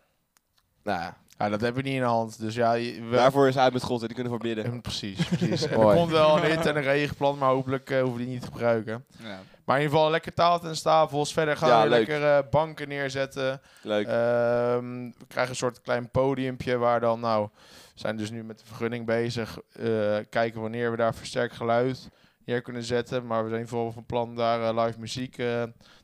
[SPEAKER 4] nou ja.
[SPEAKER 3] Ja, dat heb je niet in de hand. Dus ja, je- we-
[SPEAKER 1] Daarvoor is uit met God en die kunnen voor bidden.
[SPEAKER 4] Ehm,
[SPEAKER 3] Eh, <laughs> Precies,
[SPEAKER 4] <laughs>
[SPEAKER 3] precies. En er
[SPEAKER 4] Mooi.
[SPEAKER 3] komt wel een hit en een regenplan, maar hopelijk eh, hoeven we die niet te gebruiken.
[SPEAKER 2] Ja.
[SPEAKER 3] Maar in ieder geval lekker taalt en stapels. Verder gaan
[SPEAKER 1] Ja,
[SPEAKER 3] we
[SPEAKER 1] leuk.
[SPEAKER 3] lekker eh, banken neerzetten.
[SPEAKER 1] Leuk.
[SPEAKER 4] eh,
[SPEAKER 3] Ehm, we krijgen een soort klein podiumpje waar dan, nou, we zijn dus nu met de vergunning bezig. eh, kijken wanneer we daar versterkt geluid neer kunnen zetten. Maar we zijn vooral van plan daar eh, live muziek eh,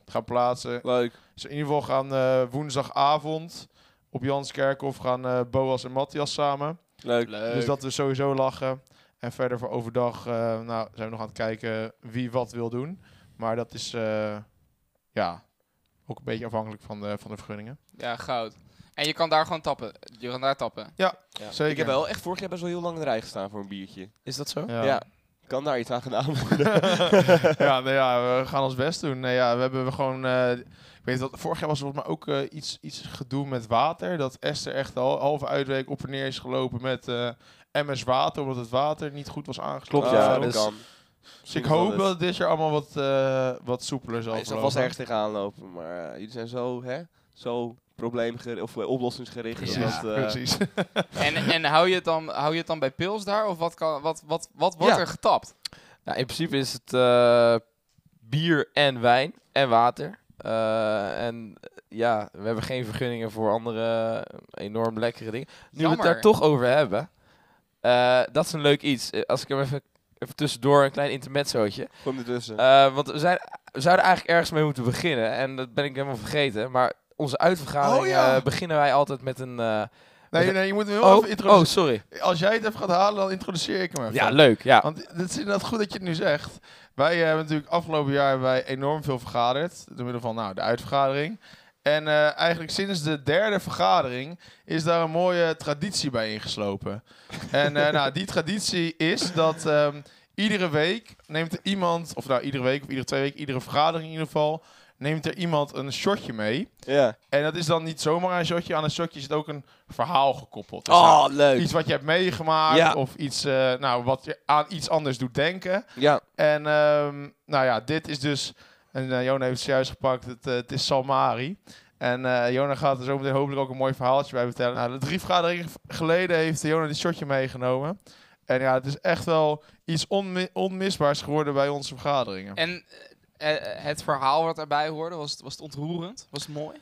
[SPEAKER 3] te gaan plaatsen.
[SPEAKER 1] Leuk.
[SPEAKER 3] Dus in ieder geval gaan eh, woensdagavond op Janskerkhof gaan eh, Boas en Matthias samen.
[SPEAKER 1] Leuk.
[SPEAKER 3] Dus dat we sowieso lachen. En verder voor overdag eh, nou, zijn we nog aan het kijken wie wat wil doen. Maar dat is eh, ja, ook een beetje afhankelijk van de, van de vergunningen.
[SPEAKER 2] Ja, goud. En je kan daar gewoon tappen. Je kan daar tappen.
[SPEAKER 3] Zeker.
[SPEAKER 1] Ik heb wel echt vorig jaar best wel heel lang in de rij gestaan voor een biertje.
[SPEAKER 4] Is dat zo?
[SPEAKER 1] Ja. Kan daar iets aan gedaan worden?
[SPEAKER 3] <laughs> ja, nou ja, we gaan ons best doen. Nou ja, we hebben we gewoon. eh, ik weet dat vorig jaar was er volgens mij ook eh, iets, iets gedoe met water. Dat Esther echt al halve uitweek op en neer is gelopen met eh, MS water, omdat het water niet goed was aangesloten.
[SPEAKER 4] <laughs> Klopt, ja,
[SPEAKER 3] of
[SPEAKER 1] Ah,
[SPEAKER 3] zo.
[SPEAKER 4] dat is-
[SPEAKER 1] kan.
[SPEAKER 3] Dus ik hoop dat het dit jaar allemaal wat, eh, wat soepeler zal
[SPEAKER 1] Hij zal
[SPEAKER 3] verlopen.
[SPEAKER 1] vast ergens tegenaan lopen, maar eh, jullie zijn zo, hè, zo probleemgericht of eh, oplossingsgericht.
[SPEAKER 3] Precies,
[SPEAKER 1] dat, eh,
[SPEAKER 3] precies.
[SPEAKER 2] En, en hou, je het dan, hou je het dan bij pils daar? Of wat, kan, wat, wat, wat wordt
[SPEAKER 4] Ja.
[SPEAKER 2] er getapt?
[SPEAKER 4] Nou, in principe is het eh, bier en wijn en water. Eh, en eh, ja, we hebben geen vergunningen voor andere eh, enorm lekkere dingen. Nu we het
[SPEAKER 2] Jammer.
[SPEAKER 4] daar toch over hebben, eh, dat is een leuk iets. Eh, Als ik hem even, even tussendoor een klein intermezzootje.
[SPEAKER 1] Kom ertussen.
[SPEAKER 4] Eh, want we, zijn, we zouden eigenlijk ergens mee moeten beginnen. En dat ben ik helemaal vergeten. Maar onze uitvergadering
[SPEAKER 3] Oh, ja.
[SPEAKER 4] eh, beginnen wij altijd met een... eh,
[SPEAKER 3] Nee, nee, je moet hem heel
[SPEAKER 4] oh,
[SPEAKER 3] even
[SPEAKER 4] oh,
[SPEAKER 3] introduceren.
[SPEAKER 4] sorry.
[SPEAKER 3] Als jij het even gaat halen, dan introduceer ik hem even.
[SPEAKER 4] Ja, leuk. Ja.
[SPEAKER 3] Want het is inderdaad goed dat je het nu zegt. Wij eh, hebben natuurlijk afgelopen jaar hebben wij enorm veel vergaderd. Door middel van nou, de uitvergadering. En eh, eigenlijk sinds de derde vergadering is daar een mooie traditie bij
[SPEAKER 4] <laughs>
[SPEAKER 3] ingeslopen. en eh, nou, die traditie is dat ehm, iedere week neemt er iemand, of nou iedere week of iedere twee weken, iedere vergadering in ieder geval, neemt er iemand een shotje mee.
[SPEAKER 1] ja.
[SPEAKER 3] En dat is dan niet zomaar een shotje. Aan een shotje zit ook een verhaal gekoppeld. Dus nou,
[SPEAKER 1] Oh, leuk.
[SPEAKER 3] iets wat je hebt meegemaakt
[SPEAKER 1] Ja.
[SPEAKER 3] of iets eh, nou, wat je aan iets anders doet denken.
[SPEAKER 1] Ja,
[SPEAKER 3] En ehm, nou ja, dit is dus, en eh, Jona heeft het juist gepakt, het, eh, het is Salmari. En eh, Jona gaat er zo meteen hopelijk ook een mooi verhaaltje bij vertellen. Nou, de drie vergaderingen v- geleden heeft Jona dit shotje meegenomen. En ja, het is echt wel iets onmi- onmisbaars geworden bij onze vergaderingen.
[SPEAKER 2] En eh, eh, het verhaal wat erbij hoorde, was het, was het ontroerend? Was het mooi?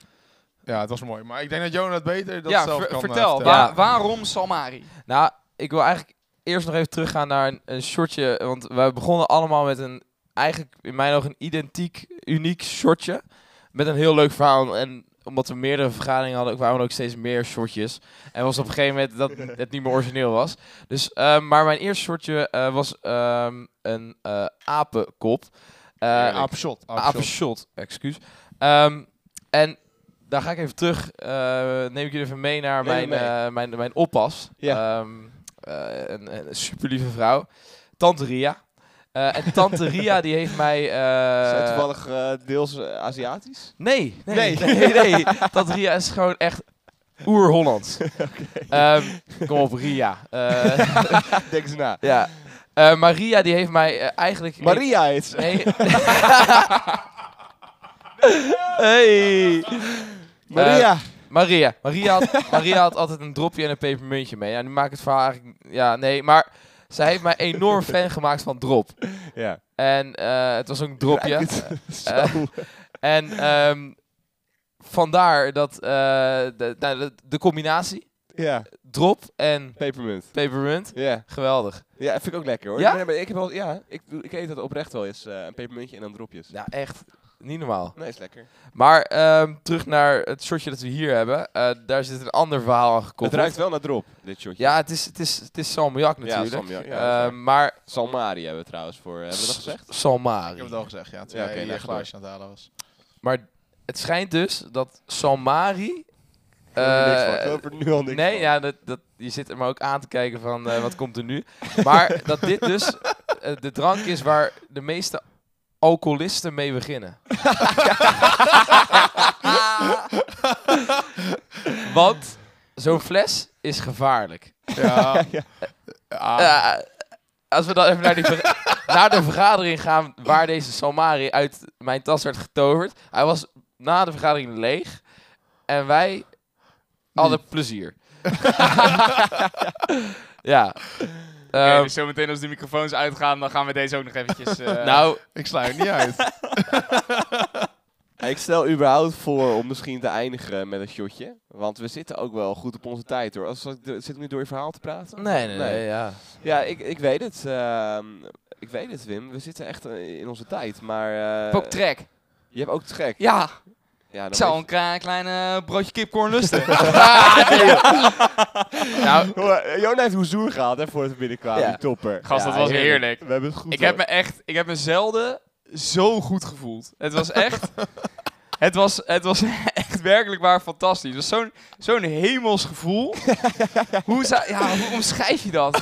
[SPEAKER 3] Ja, het was mooi. Maar ik denk dat Jona het beter dat
[SPEAKER 2] ja,
[SPEAKER 3] zelf
[SPEAKER 2] ver-
[SPEAKER 3] kan eh,
[SPEAKER 2] vertel.
[SPEAKER 3] vertellen.
[SPEAKER 2] waar- waarom Salmari?
[SPEAKER 4] Nou, ik wil eigenlijk eerst nog even teruggaan naar een, een shortje. Want wij begonnen allemaal met een, eigenlijk in mijn ogen, een identiek, uniek shortje. Met een heel leuk verhaal. En omdat we meerdere vergaderingen hadden, kwamen er ook steeds meer shortjes. En was op een gegeven moment dat het niet meer origineel was. Dus, eh, maar mijn eerste shortje eh, was ehm, een eh, apenkop. Eh,
[SPEAKER 3] Ja, apenshot, apenshot.
[SPEAKER 4] Apenshot, excuus. Ehm, en daar ga ik even terug. eh, neem ik jullie even mee naar
[SPEAKER 1] Neem me
[SPEAKER 4] mijn,
[SPEAKER 1] mee.
[SPEAKER 4] eh, mijn, mijn oppas.
[SPEAKER 1] Ja.
[SPEAKER 4] Ehm, eh, een, een super lieve vrouw. Tante Ria. Eh, en
[SPEAKER 1] <laughs>
[SPEAKER 4] Tante Ria die heeft mij... eh,
[SPEAKER 1] Is hij toevallig eh, deels eh, Aziatisch?
[SPEAKER 4] nee, nee,
[SPEAKER 1] Nee.
[SPEAKER 4] nee, nee, Tante Ria is gewoon echt
[SPEAKER 1] <laughs>
[SPEAKER 4] oer-Hollands. Ehm, kom op, Ria. Eh,
[SPEAKER 1] <laughs> Denk eens na.
[SPEAKER 4] ja. Eh, maar Ria die heeft mij eh, eigenlijk...
[SPEAKER 1] Maria heet ze.
[SPEAKER 4] Nee. hey.
[SPEAKER 1] <laughs> Maria.
[SPEAKER 4] Maria. Maria had, <laughs> Maria had altijd een dropje en een pepermuntje mee. Ja, nu maak ik het verhaal eigenlijk... Ja, nee, maar zij heeft mij
[SPEAKER 1] <laughs>
[SPEAKER 4] enorm fan gemaakt van drop.
[SPEAKER 1] ja.
[SPEAKER 4] En eh, het was ook een dropje.
[SPEAKER 1] Ruik het. <laughs> Zo.
[SPEAKER 4] Eh, en ehm, vandaar dat eh, de, nou, de, de combinatie
[SPEAKER 1] ja,
[SPEAKER 4] drop en
[SPEAKER 1] pepermunt.
[SPEAKER 4] pepermunt,
[SPEAKER 1] Ja.
[SPEAKER 4] geweldig.
[SPEAKER 1] ja, vind ik ook lekker hoor.
[SPEAKER 4] Ja?
[SPEAKER 1] Nee, maar ik, heb wel, ja, ik, doe- ik eet dat oprecht wel eens. eh, een pepermuntje en dan dropjes.
[SPEAKER 4] Ja, echt niet normaal.
[SPEAKER 1] Nee, is lekker.
[SPEAKER 4] Maar ehm, terug naar het shotje dat we hier hebben. Eh, daar zit een ander verhaal aan gekoppeld.
[SPEAKER 1] Het ruikt wel naar drop, dit shotje.
[SPEAKER 4] Ja, het is, het is, het is salmiak natuurlijk.
[SPEAKER 1] salmiak, ja,
[SPEAKER 4] Eh,
[SPEAKER 1] zeker.
[SPEAKER 4] maar
[SPEAKER 1] Salmari hebben we trouwens voor. eh, Hebben we dat gezegd?
[SPEAKER 3] Ik
[SPEAKER 4] salmari.
[SPEAKER 3] heb het al gezegd, ja. nou, Toen
[SPEAKER 1] Ja,
[SPEAKER 3] jij
[SPEAKER 1] oké,
[SPEAKER 3] je
[SPEAKER 1] leg
[SPEAKER 3] glaasje aan het halen was.
[SPEAKER 4] Maar het schijnt dus dat salmari...
[SPEAKER 1] Ik hoor er niks van.
[SPEAKER 4] eh,
[SPEAKER 1] Ik geloof er nu al niks
[SPEAKER 4] nee,
[SPEAKER 1] van.
[SPEAKER 4] ja, dat, dat, je zit er maar ook aan te kijken van eh, wat komt er nu.
[SPEAKER 1] <laughs>
[SPEAKER 4] Maar dat dit dus eh, de drank is waar de meeste alcoholisten mee beginnen. <laughs> Want zo'n fles is gevaarlijk.
[SPEAKER 3] <laughs> <laughs> Ja.
[SPEAKER 1] Ja.
[SPEAKER 3] Ah,
[SPEAKER 4] Eh, Als we dan even naar, die ver- <laughs> naar de vergadering gaan waar deze Salmari uit mijn tas werd getoverd. Hij was na de vergadering leeg. En wij hadden
[SPEAKER 2] <laughs>
[SPEAKER 4] plezier. <laughs> ja.
[SPEAKER 2] Oké,
[SPEAKER 4] Ehm,
[SPEAKER 2] dus zometeen als de microfoons uitgaan, dan gaan we deze ook nog <laughs> eventjes... eh,
[SPEAKER 4] nou,
[SPEAKER 3] Ik sluit niet uit.
[SPEAKER 1] Ik stel überhaupt voor om misschien te eindigen met een shotje. Want we zitten ook wel goed op onze tijd hoor. Als, zit ik nu door je verhaal te praten?
[SPEAKER 4] nee, nee, nee, ja.
[SPEAKER 1] Ja, ik, ik weet het. ehm, ik weet het, Wim. We zitten echt eh, in onze tijd. Maar eh,
[SPEAKER 2] ook trek.
[SPEAKER 1] je hebt ook trek.
[SPEAKER 2] Ja,
[SPEAKER 1] Ja, dan
[SPEAKER 2] ik zou
[SPEAKER 1] weet
[SPEAKER 2] een kra- klein eh, broodje kipcorn <laughs> lusten.
[SPEAKER 4] Nou,
[SPEAKER 1] je- Hoor, eh, Jona heeft hoe zoer gehaald hè, voordat we binnenkwamen.
[SPEAKER 4] Ja.
[SPEAKER 1] Die topper.
[SPEAKER 2] Gast,
[SPEAKER 4] Ja,
[SPEAKER 2] dat was
[SPEAKER 4] heerlijk.
[SPEAKER 2] heerlijk.
[SPEAKER 1] We hebben het goed.
[SPEAKER 2] Ik heb
[SPEAKER 1] hoor.
[SPEAKER 2] me echt, ik heb me zelden zo goed gevoeld. Het was <laughs> echt, het was, het was echt werkelijk waar fantastisch. Het was zo'n, zo'n hemels <laughs> gevoel. hoe, zou, ja, hoe omschrijf je dat?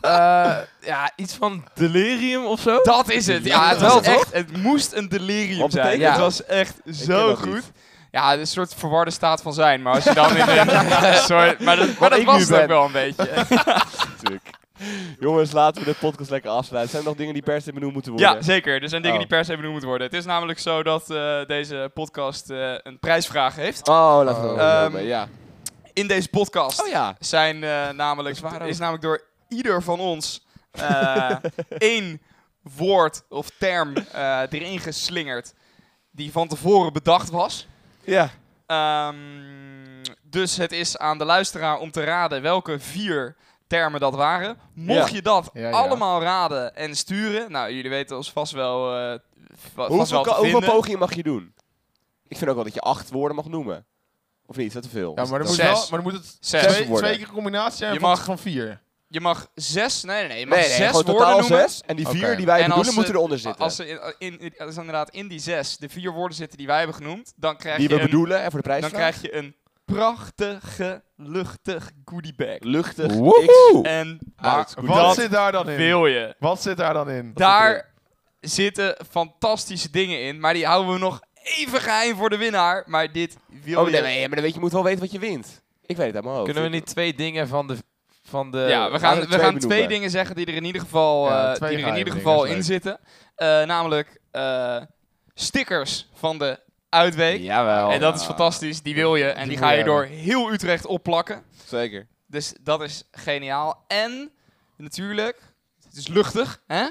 [SPEAKER 4] eh, ja, iets van delirium of zo.
[SPEAKER 2] Dat is het. Ja, het
[SPEAKER 4] Wel,
[SPEAKER 2] was
[SPEAKER 4] toch?
[SPEAKER 2] echt, het moest een delirium
[SPEAKER 1] Wat
[SPEAKER 2] zijn.
[SPEAKER 1] betekent
[SPEAKER 2] Het
[SPEAKER 4] dat?
[SPEAKER 2] was echt
[SPEAKER 1] ken
[SPEAKER 2] zo
[SPEAKER 1] dat
[SPEAKER 2] goed.
[SPEAKER 1] niet.
[SPEAKER 2] Ja, het is een soort verwarde staat van zijn. Maar als je dan in
[SPEAKER 4] <laughs>
[SPEAKER 2] een soort, maar dat, maar dat
[SPEAKER 1] ik nu
[SPEAKER 2] was het
[SPEAKER 1] ben.
[SPEAKER 2] ook wel een beetje.
[SPEAKER 1] Natuurlijk. Jongens, laten we de podcast lekker afsluiten. Zijn er nog dingen die per se benoemd moeten worden?
[SPEAKER 2] Ja, zeker. Er zijn dingen
[SPEAKER 1] Oh.
[SPEAKER 2] die per se benoemd moeten worden. Het is namelijk zo dat eh, deze podcast eh, een prijsvraag heeft.
[SPEAKER 1] Oh, laten we
[SPEAKER 4] Oh.
[SPEAKER 1] dat benoemen,
[SPEAKER 2] Ehm,
[SPEAKER 1] ja.
[SPEAKER 2] in deze podcast
[SPEAKER 4] Oh ja.
[SPEAKER 2] zijn eh, namelijk,
[SPEAKER 4] Dat is waar ook.
[SPEAKER 2] is namelijk door ieder van ons
[SPEAKER 4] <laughs>
[SPEAKER 2] eh, één woord of term eh, erin geslingerd die van tevoren bedacht was.
[SPEAKER 1] Ja.
[SPEAKER 2] Ehm, dus het is aan de luisteraar om te raden welke vier termen dat waren. Mocht je dat
[SPEAKER 3] Ja, ja.
[SPEAKER 2] allemaal raden en sturen, nou jullie weten ons vast wel, eh, va- vast
[SPEAKER 1] Hoeveel,
[SPEAKER 2] wel
[SPEAKER 1] ka-
[SPEAKER 2] te
[SPEAKER 1] hoeveel
[SPEAKER 2] vinden.
[SPEAKER 1] pogingen mag je doen? Ik vind ook wel dat je acht woorden mag noemen. Of niet? Is dat te veel?
[SPEAKER 3] <laughs> Ja, maar dan moet,
[SPEAKER 2] Zes.
[SPEAKER 3] wel, maar dan moet het
[SPEAKER 2] Zes
[SPEAKER 3] twee,
[SPEAKER 1] worden.
[SPEAKER 3] twee keer een combinatie zijn
[SPEAKER 2] Je
[SPEAKER 3] van,
[SPEAKER 2] mag-
[SPEAKER 3] van vier.
[SPEAKER 2] Je mag zes, nee nee nee, je mag
[SPEAKER 1] nee, nee,
[SPEAKER 2] zes
[SPEAKER 1] gewoon
[SPEAKER 2] woorden
[SPEAKER 1] totaal
[SPEAKER 2] noemen.
[SPEAKER 1] zes. En die vier
[SPEAKER 3] Oké.
[SPEAKER 1] die wij
[SPEAKER 2] En als
[SPEAKER 1] bedoelen
[SPEAKER 2] ze-
[SPEAKER 1] moeten eronder zitten.
[SPEAKER 2] Als, ze in, in, in- als inderdaad in die zes de vier woorden zitten die wij hebben genoemd, dan krijg,
[SPEAKER 1] die
[SPEAKER 2] je,
[SPEAKER 1] we
[SPEAKER 2] een,
[SPEAKER 1] bedoelen, en voor de prijs.
[SPEAKER 2] dan krijg je een prachtige, luchtig goodie bag.
[SPEAKER 1] luchtig. X.
[SPEAKER 2] En
[SPEAKER 1] Ah,
[SPEAKER 2] maar
[SPEAKER 1] dat is
[SPEAKER 3] Wat
[SPEAKER 2] dat
[SPEAKER 3] zit daar dan in?
[SPEAKER 2] wil je.
[SPEAKER 3] Wat zit daar dan in?
[SPEAKER 2] Daar zitten fantastische dingen in, maar die houden we nog even geheim voor de winnaar. Maar dit wil
[SPEAKER 1] Oh
[SPEAKER 2] je.
[SPEAKER 1] nee, nee, maar dan weet je, je moet wel weten wat je wint. Ik weet het uit mijn hoofd.
[SPEAKER 4] Kunnen we niet twee dingen van de... Van de
[SPEAKER 2] ja, we gaan,
[SPEAKER 1] laten we
[SPEAKER 2] we
[SPEAKER 1] twee
[SPEAKER 2] gaan
[SPEAKER 1] benoemen.
[SPEAKER 2] twee dingen zeggen die er in ieder geval,
[SPEAKER 3] Ja,
[SPEAKER 2] eh,
[SPEAKER 3] twee
[SPEAKER 2] die er in
[SPEAKER 3] geheime
[SPEAKER 2] ieder
[SPEAKER 3] dingen,
[SPEAKER 2] geval
[SPEAKER 3] is leuk.
[SPEAKER 2] in zitten. Eh, namelijk eh, stickers van de uitweek.
[SPEAKER 4] Jawel.
[SPEAKER 2] En dat is fantastisch, die wil je. En die
[SPEAKER 3] moet
[SPEAKER 2] ga
[SPEAKER 3] je
[SPEAKER 2] je door heel Utrecht opplakken.
[SPEAKER 1] Zeker.
[SPEAKER 2] Dus dat is geniaal. En natuurlijk, het is luchtig, hè?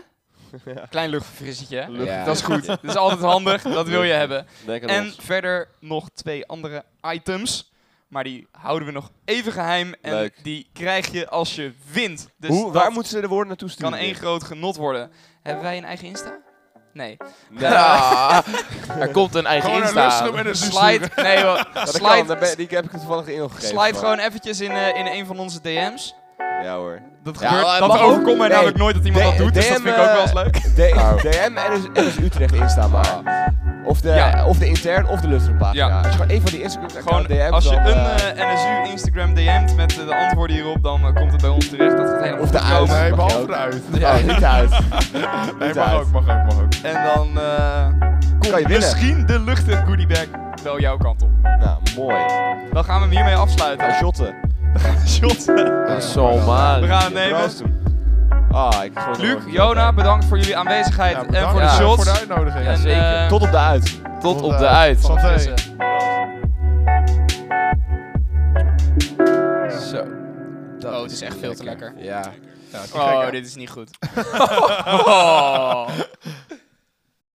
[SPEAKER 2] Klein luchtfrissetje. hè?
[SPEAKER 4] Ja.
[SPEAKER 2] Dat is goed. Dat is altijd handig, dat wil je hebben.
[SPEAKER 1] <laughs> Denk aan
[SPEAKER 2] En
[SPEAKER 1] ons.
[SPEAKER 2] verder nog twee andere items. Maar die houden we nog even geheim. En
[SPEAKER 1] Leuk.
[SPEAKER 2] die krijg je als je wint. Dus
[SPEAKER 1] Hoe,
[SPEAKER 2] dat
[SPEAKER 1] waar moeten ze de woorden naartoe sturen?
[SPEAKER 2] kan <laughs> één groot genot worden. Hebben wij een eigen Insta? Nee.
[SPEAKER 1] Nee.
[SPEAKER 4] Ja. er komt een eigen
[SPEAKER 3] Gewoon een
[SPEAKER 4] Insta.
[SPEAKER 3] lustrum en een
[SPEAKER 2] Slide. Nee, joh.
[SPEAKER 1] Ja, <laughs> dat kan,
[SPEAKER 2] slide,
[SPEAKER 1] daar ben- die heb ik het toevallig in opgegeven.
[SPEAKER 2] slide gewoon eventjes in, eh, in een van onze DM's.
[SPEAKER 1] Ja hoor.
[SPEAKER 2] Dat,
[SPEAKER 1] Ja,
[SPEAKER 2] gebeurt,
[SPEAKER 1] maar
[SPEAKER 2] dat
[SPEAKER 1] mag ook.
[SPEAKER 2] overkomt mij
[SPEAKER 1] Nee.
[SPEAKER 2] namelijk nooit dat iemand
[SPEAKER 1] D-
[SPEAKER 2] dat doet, dus dat
[SPEAKER 1] DM,
[SPEAKER 2] vind ik ook wel eens
[SPEAKER 1] eh,
[SPEAKER 2] leuk.
[SPEAKER 1] D-
[SPEAKER 4] Oh.
[SPEAKER 1] DM en dus, en dus Utrecht instaan maar. Of de,
[SPEAKER 2] Ja.
[SPEAKER 1] of de intern of de lustroompagina.
[SPEAKER 2] Ja.
[SPEAKER 1] Als je gewoon één van die Instagram
[SPEAKER 2] Gewoon,
[SPEAKER 1] DM's
[SPEAKER 2] als je
[SPEAKER 1] dan,
[SPEAKER 2] een
[SPEAKER 1] <laughs> eh,
[SPEAKER 2] eh, NSU Instagram DM't met eh, de antwoorden hierop, dan eh, komt het bij ons terecht. Dat gaat helemaal
[SPEAKER 1] Of de
[SPEAKER 2] goed
[SPEAKER 1] uit.
[SPEAKER 2] komen.
[SPEAKER 3] Nee,
[SPEAKER 1] Mag je
[SPEAKER 3] behalve
[SPEAKER 1] ook.
[SPEAKER 3] eruit.
[SPEAKER 1] Oh, niet
[SPEAKER 2] <laughs>
[SPEAKER 1] uit.
[SPEAKER 3] Nee,
[SPEAKER 1] Niet
[SPEAKER 3] mag
[SPEAKER 1] uit.
[SPEAKER 3] ook, mag ook, mag ook.
[SPEAKER 2] En dan eh,
[SPEAKER 1] Kan je
[SPEAKER 2] komt
[SPEAKER 1] winnen.
[SPEAKER 2] misschien de luchtige goodiebag wel jouw kant op.
[SPEAKER 1] Nou, mooi.
[SPEAKER 2] Dan gaan we hem hiermee afsluiten.
[SPEAKER 1] Nou, <laughs> shotten.
[SPEAKER 2] Shot.
[SPEAKER 4] Een Salmari.
[SPEAKER 2] We gaan hem nemen.
[SPEAKER 1] Ah, ik gooi
[SPEAKER 2] Luc,
[SPEAKER 1] nog even-
[SPEAKER 2] Jona, bedankt voor jullie aanwezigheid
[SPEAKER 3] Ja,
[SPEAKER 2] en
[SPEAKER 3] bedankt
[SPEAKER 2] voor
[SPEAKER 4] Ja,
[SPEAKER 2] de
[SPEAKER 3] voor de
[SPEAKER 2] shots.
[SPEAKER 3] uitnodiging. eh,
[SPEAKER 2] En,
[SPEAKER 4] Jazeker.
[SPEAKER 2] eh,
[SPEAKER 1] Tot op de uit.
[SPEAKER 4] Tot op de uit.
[SPEAKER 3] Santé.
[SPEAKER 2] vissen.
[SPEAKER 4] Zo. Dat
[SPEAKER 2] Oh, het Oh, is echt veel te lekker.
[SPEAKER 3] Oh,
[SPEAKER 4] Ja.
[SPEAKER 3] Ja, te gek, hè?
[SPEAKER 2] Oh, dit is niet goed. Oh.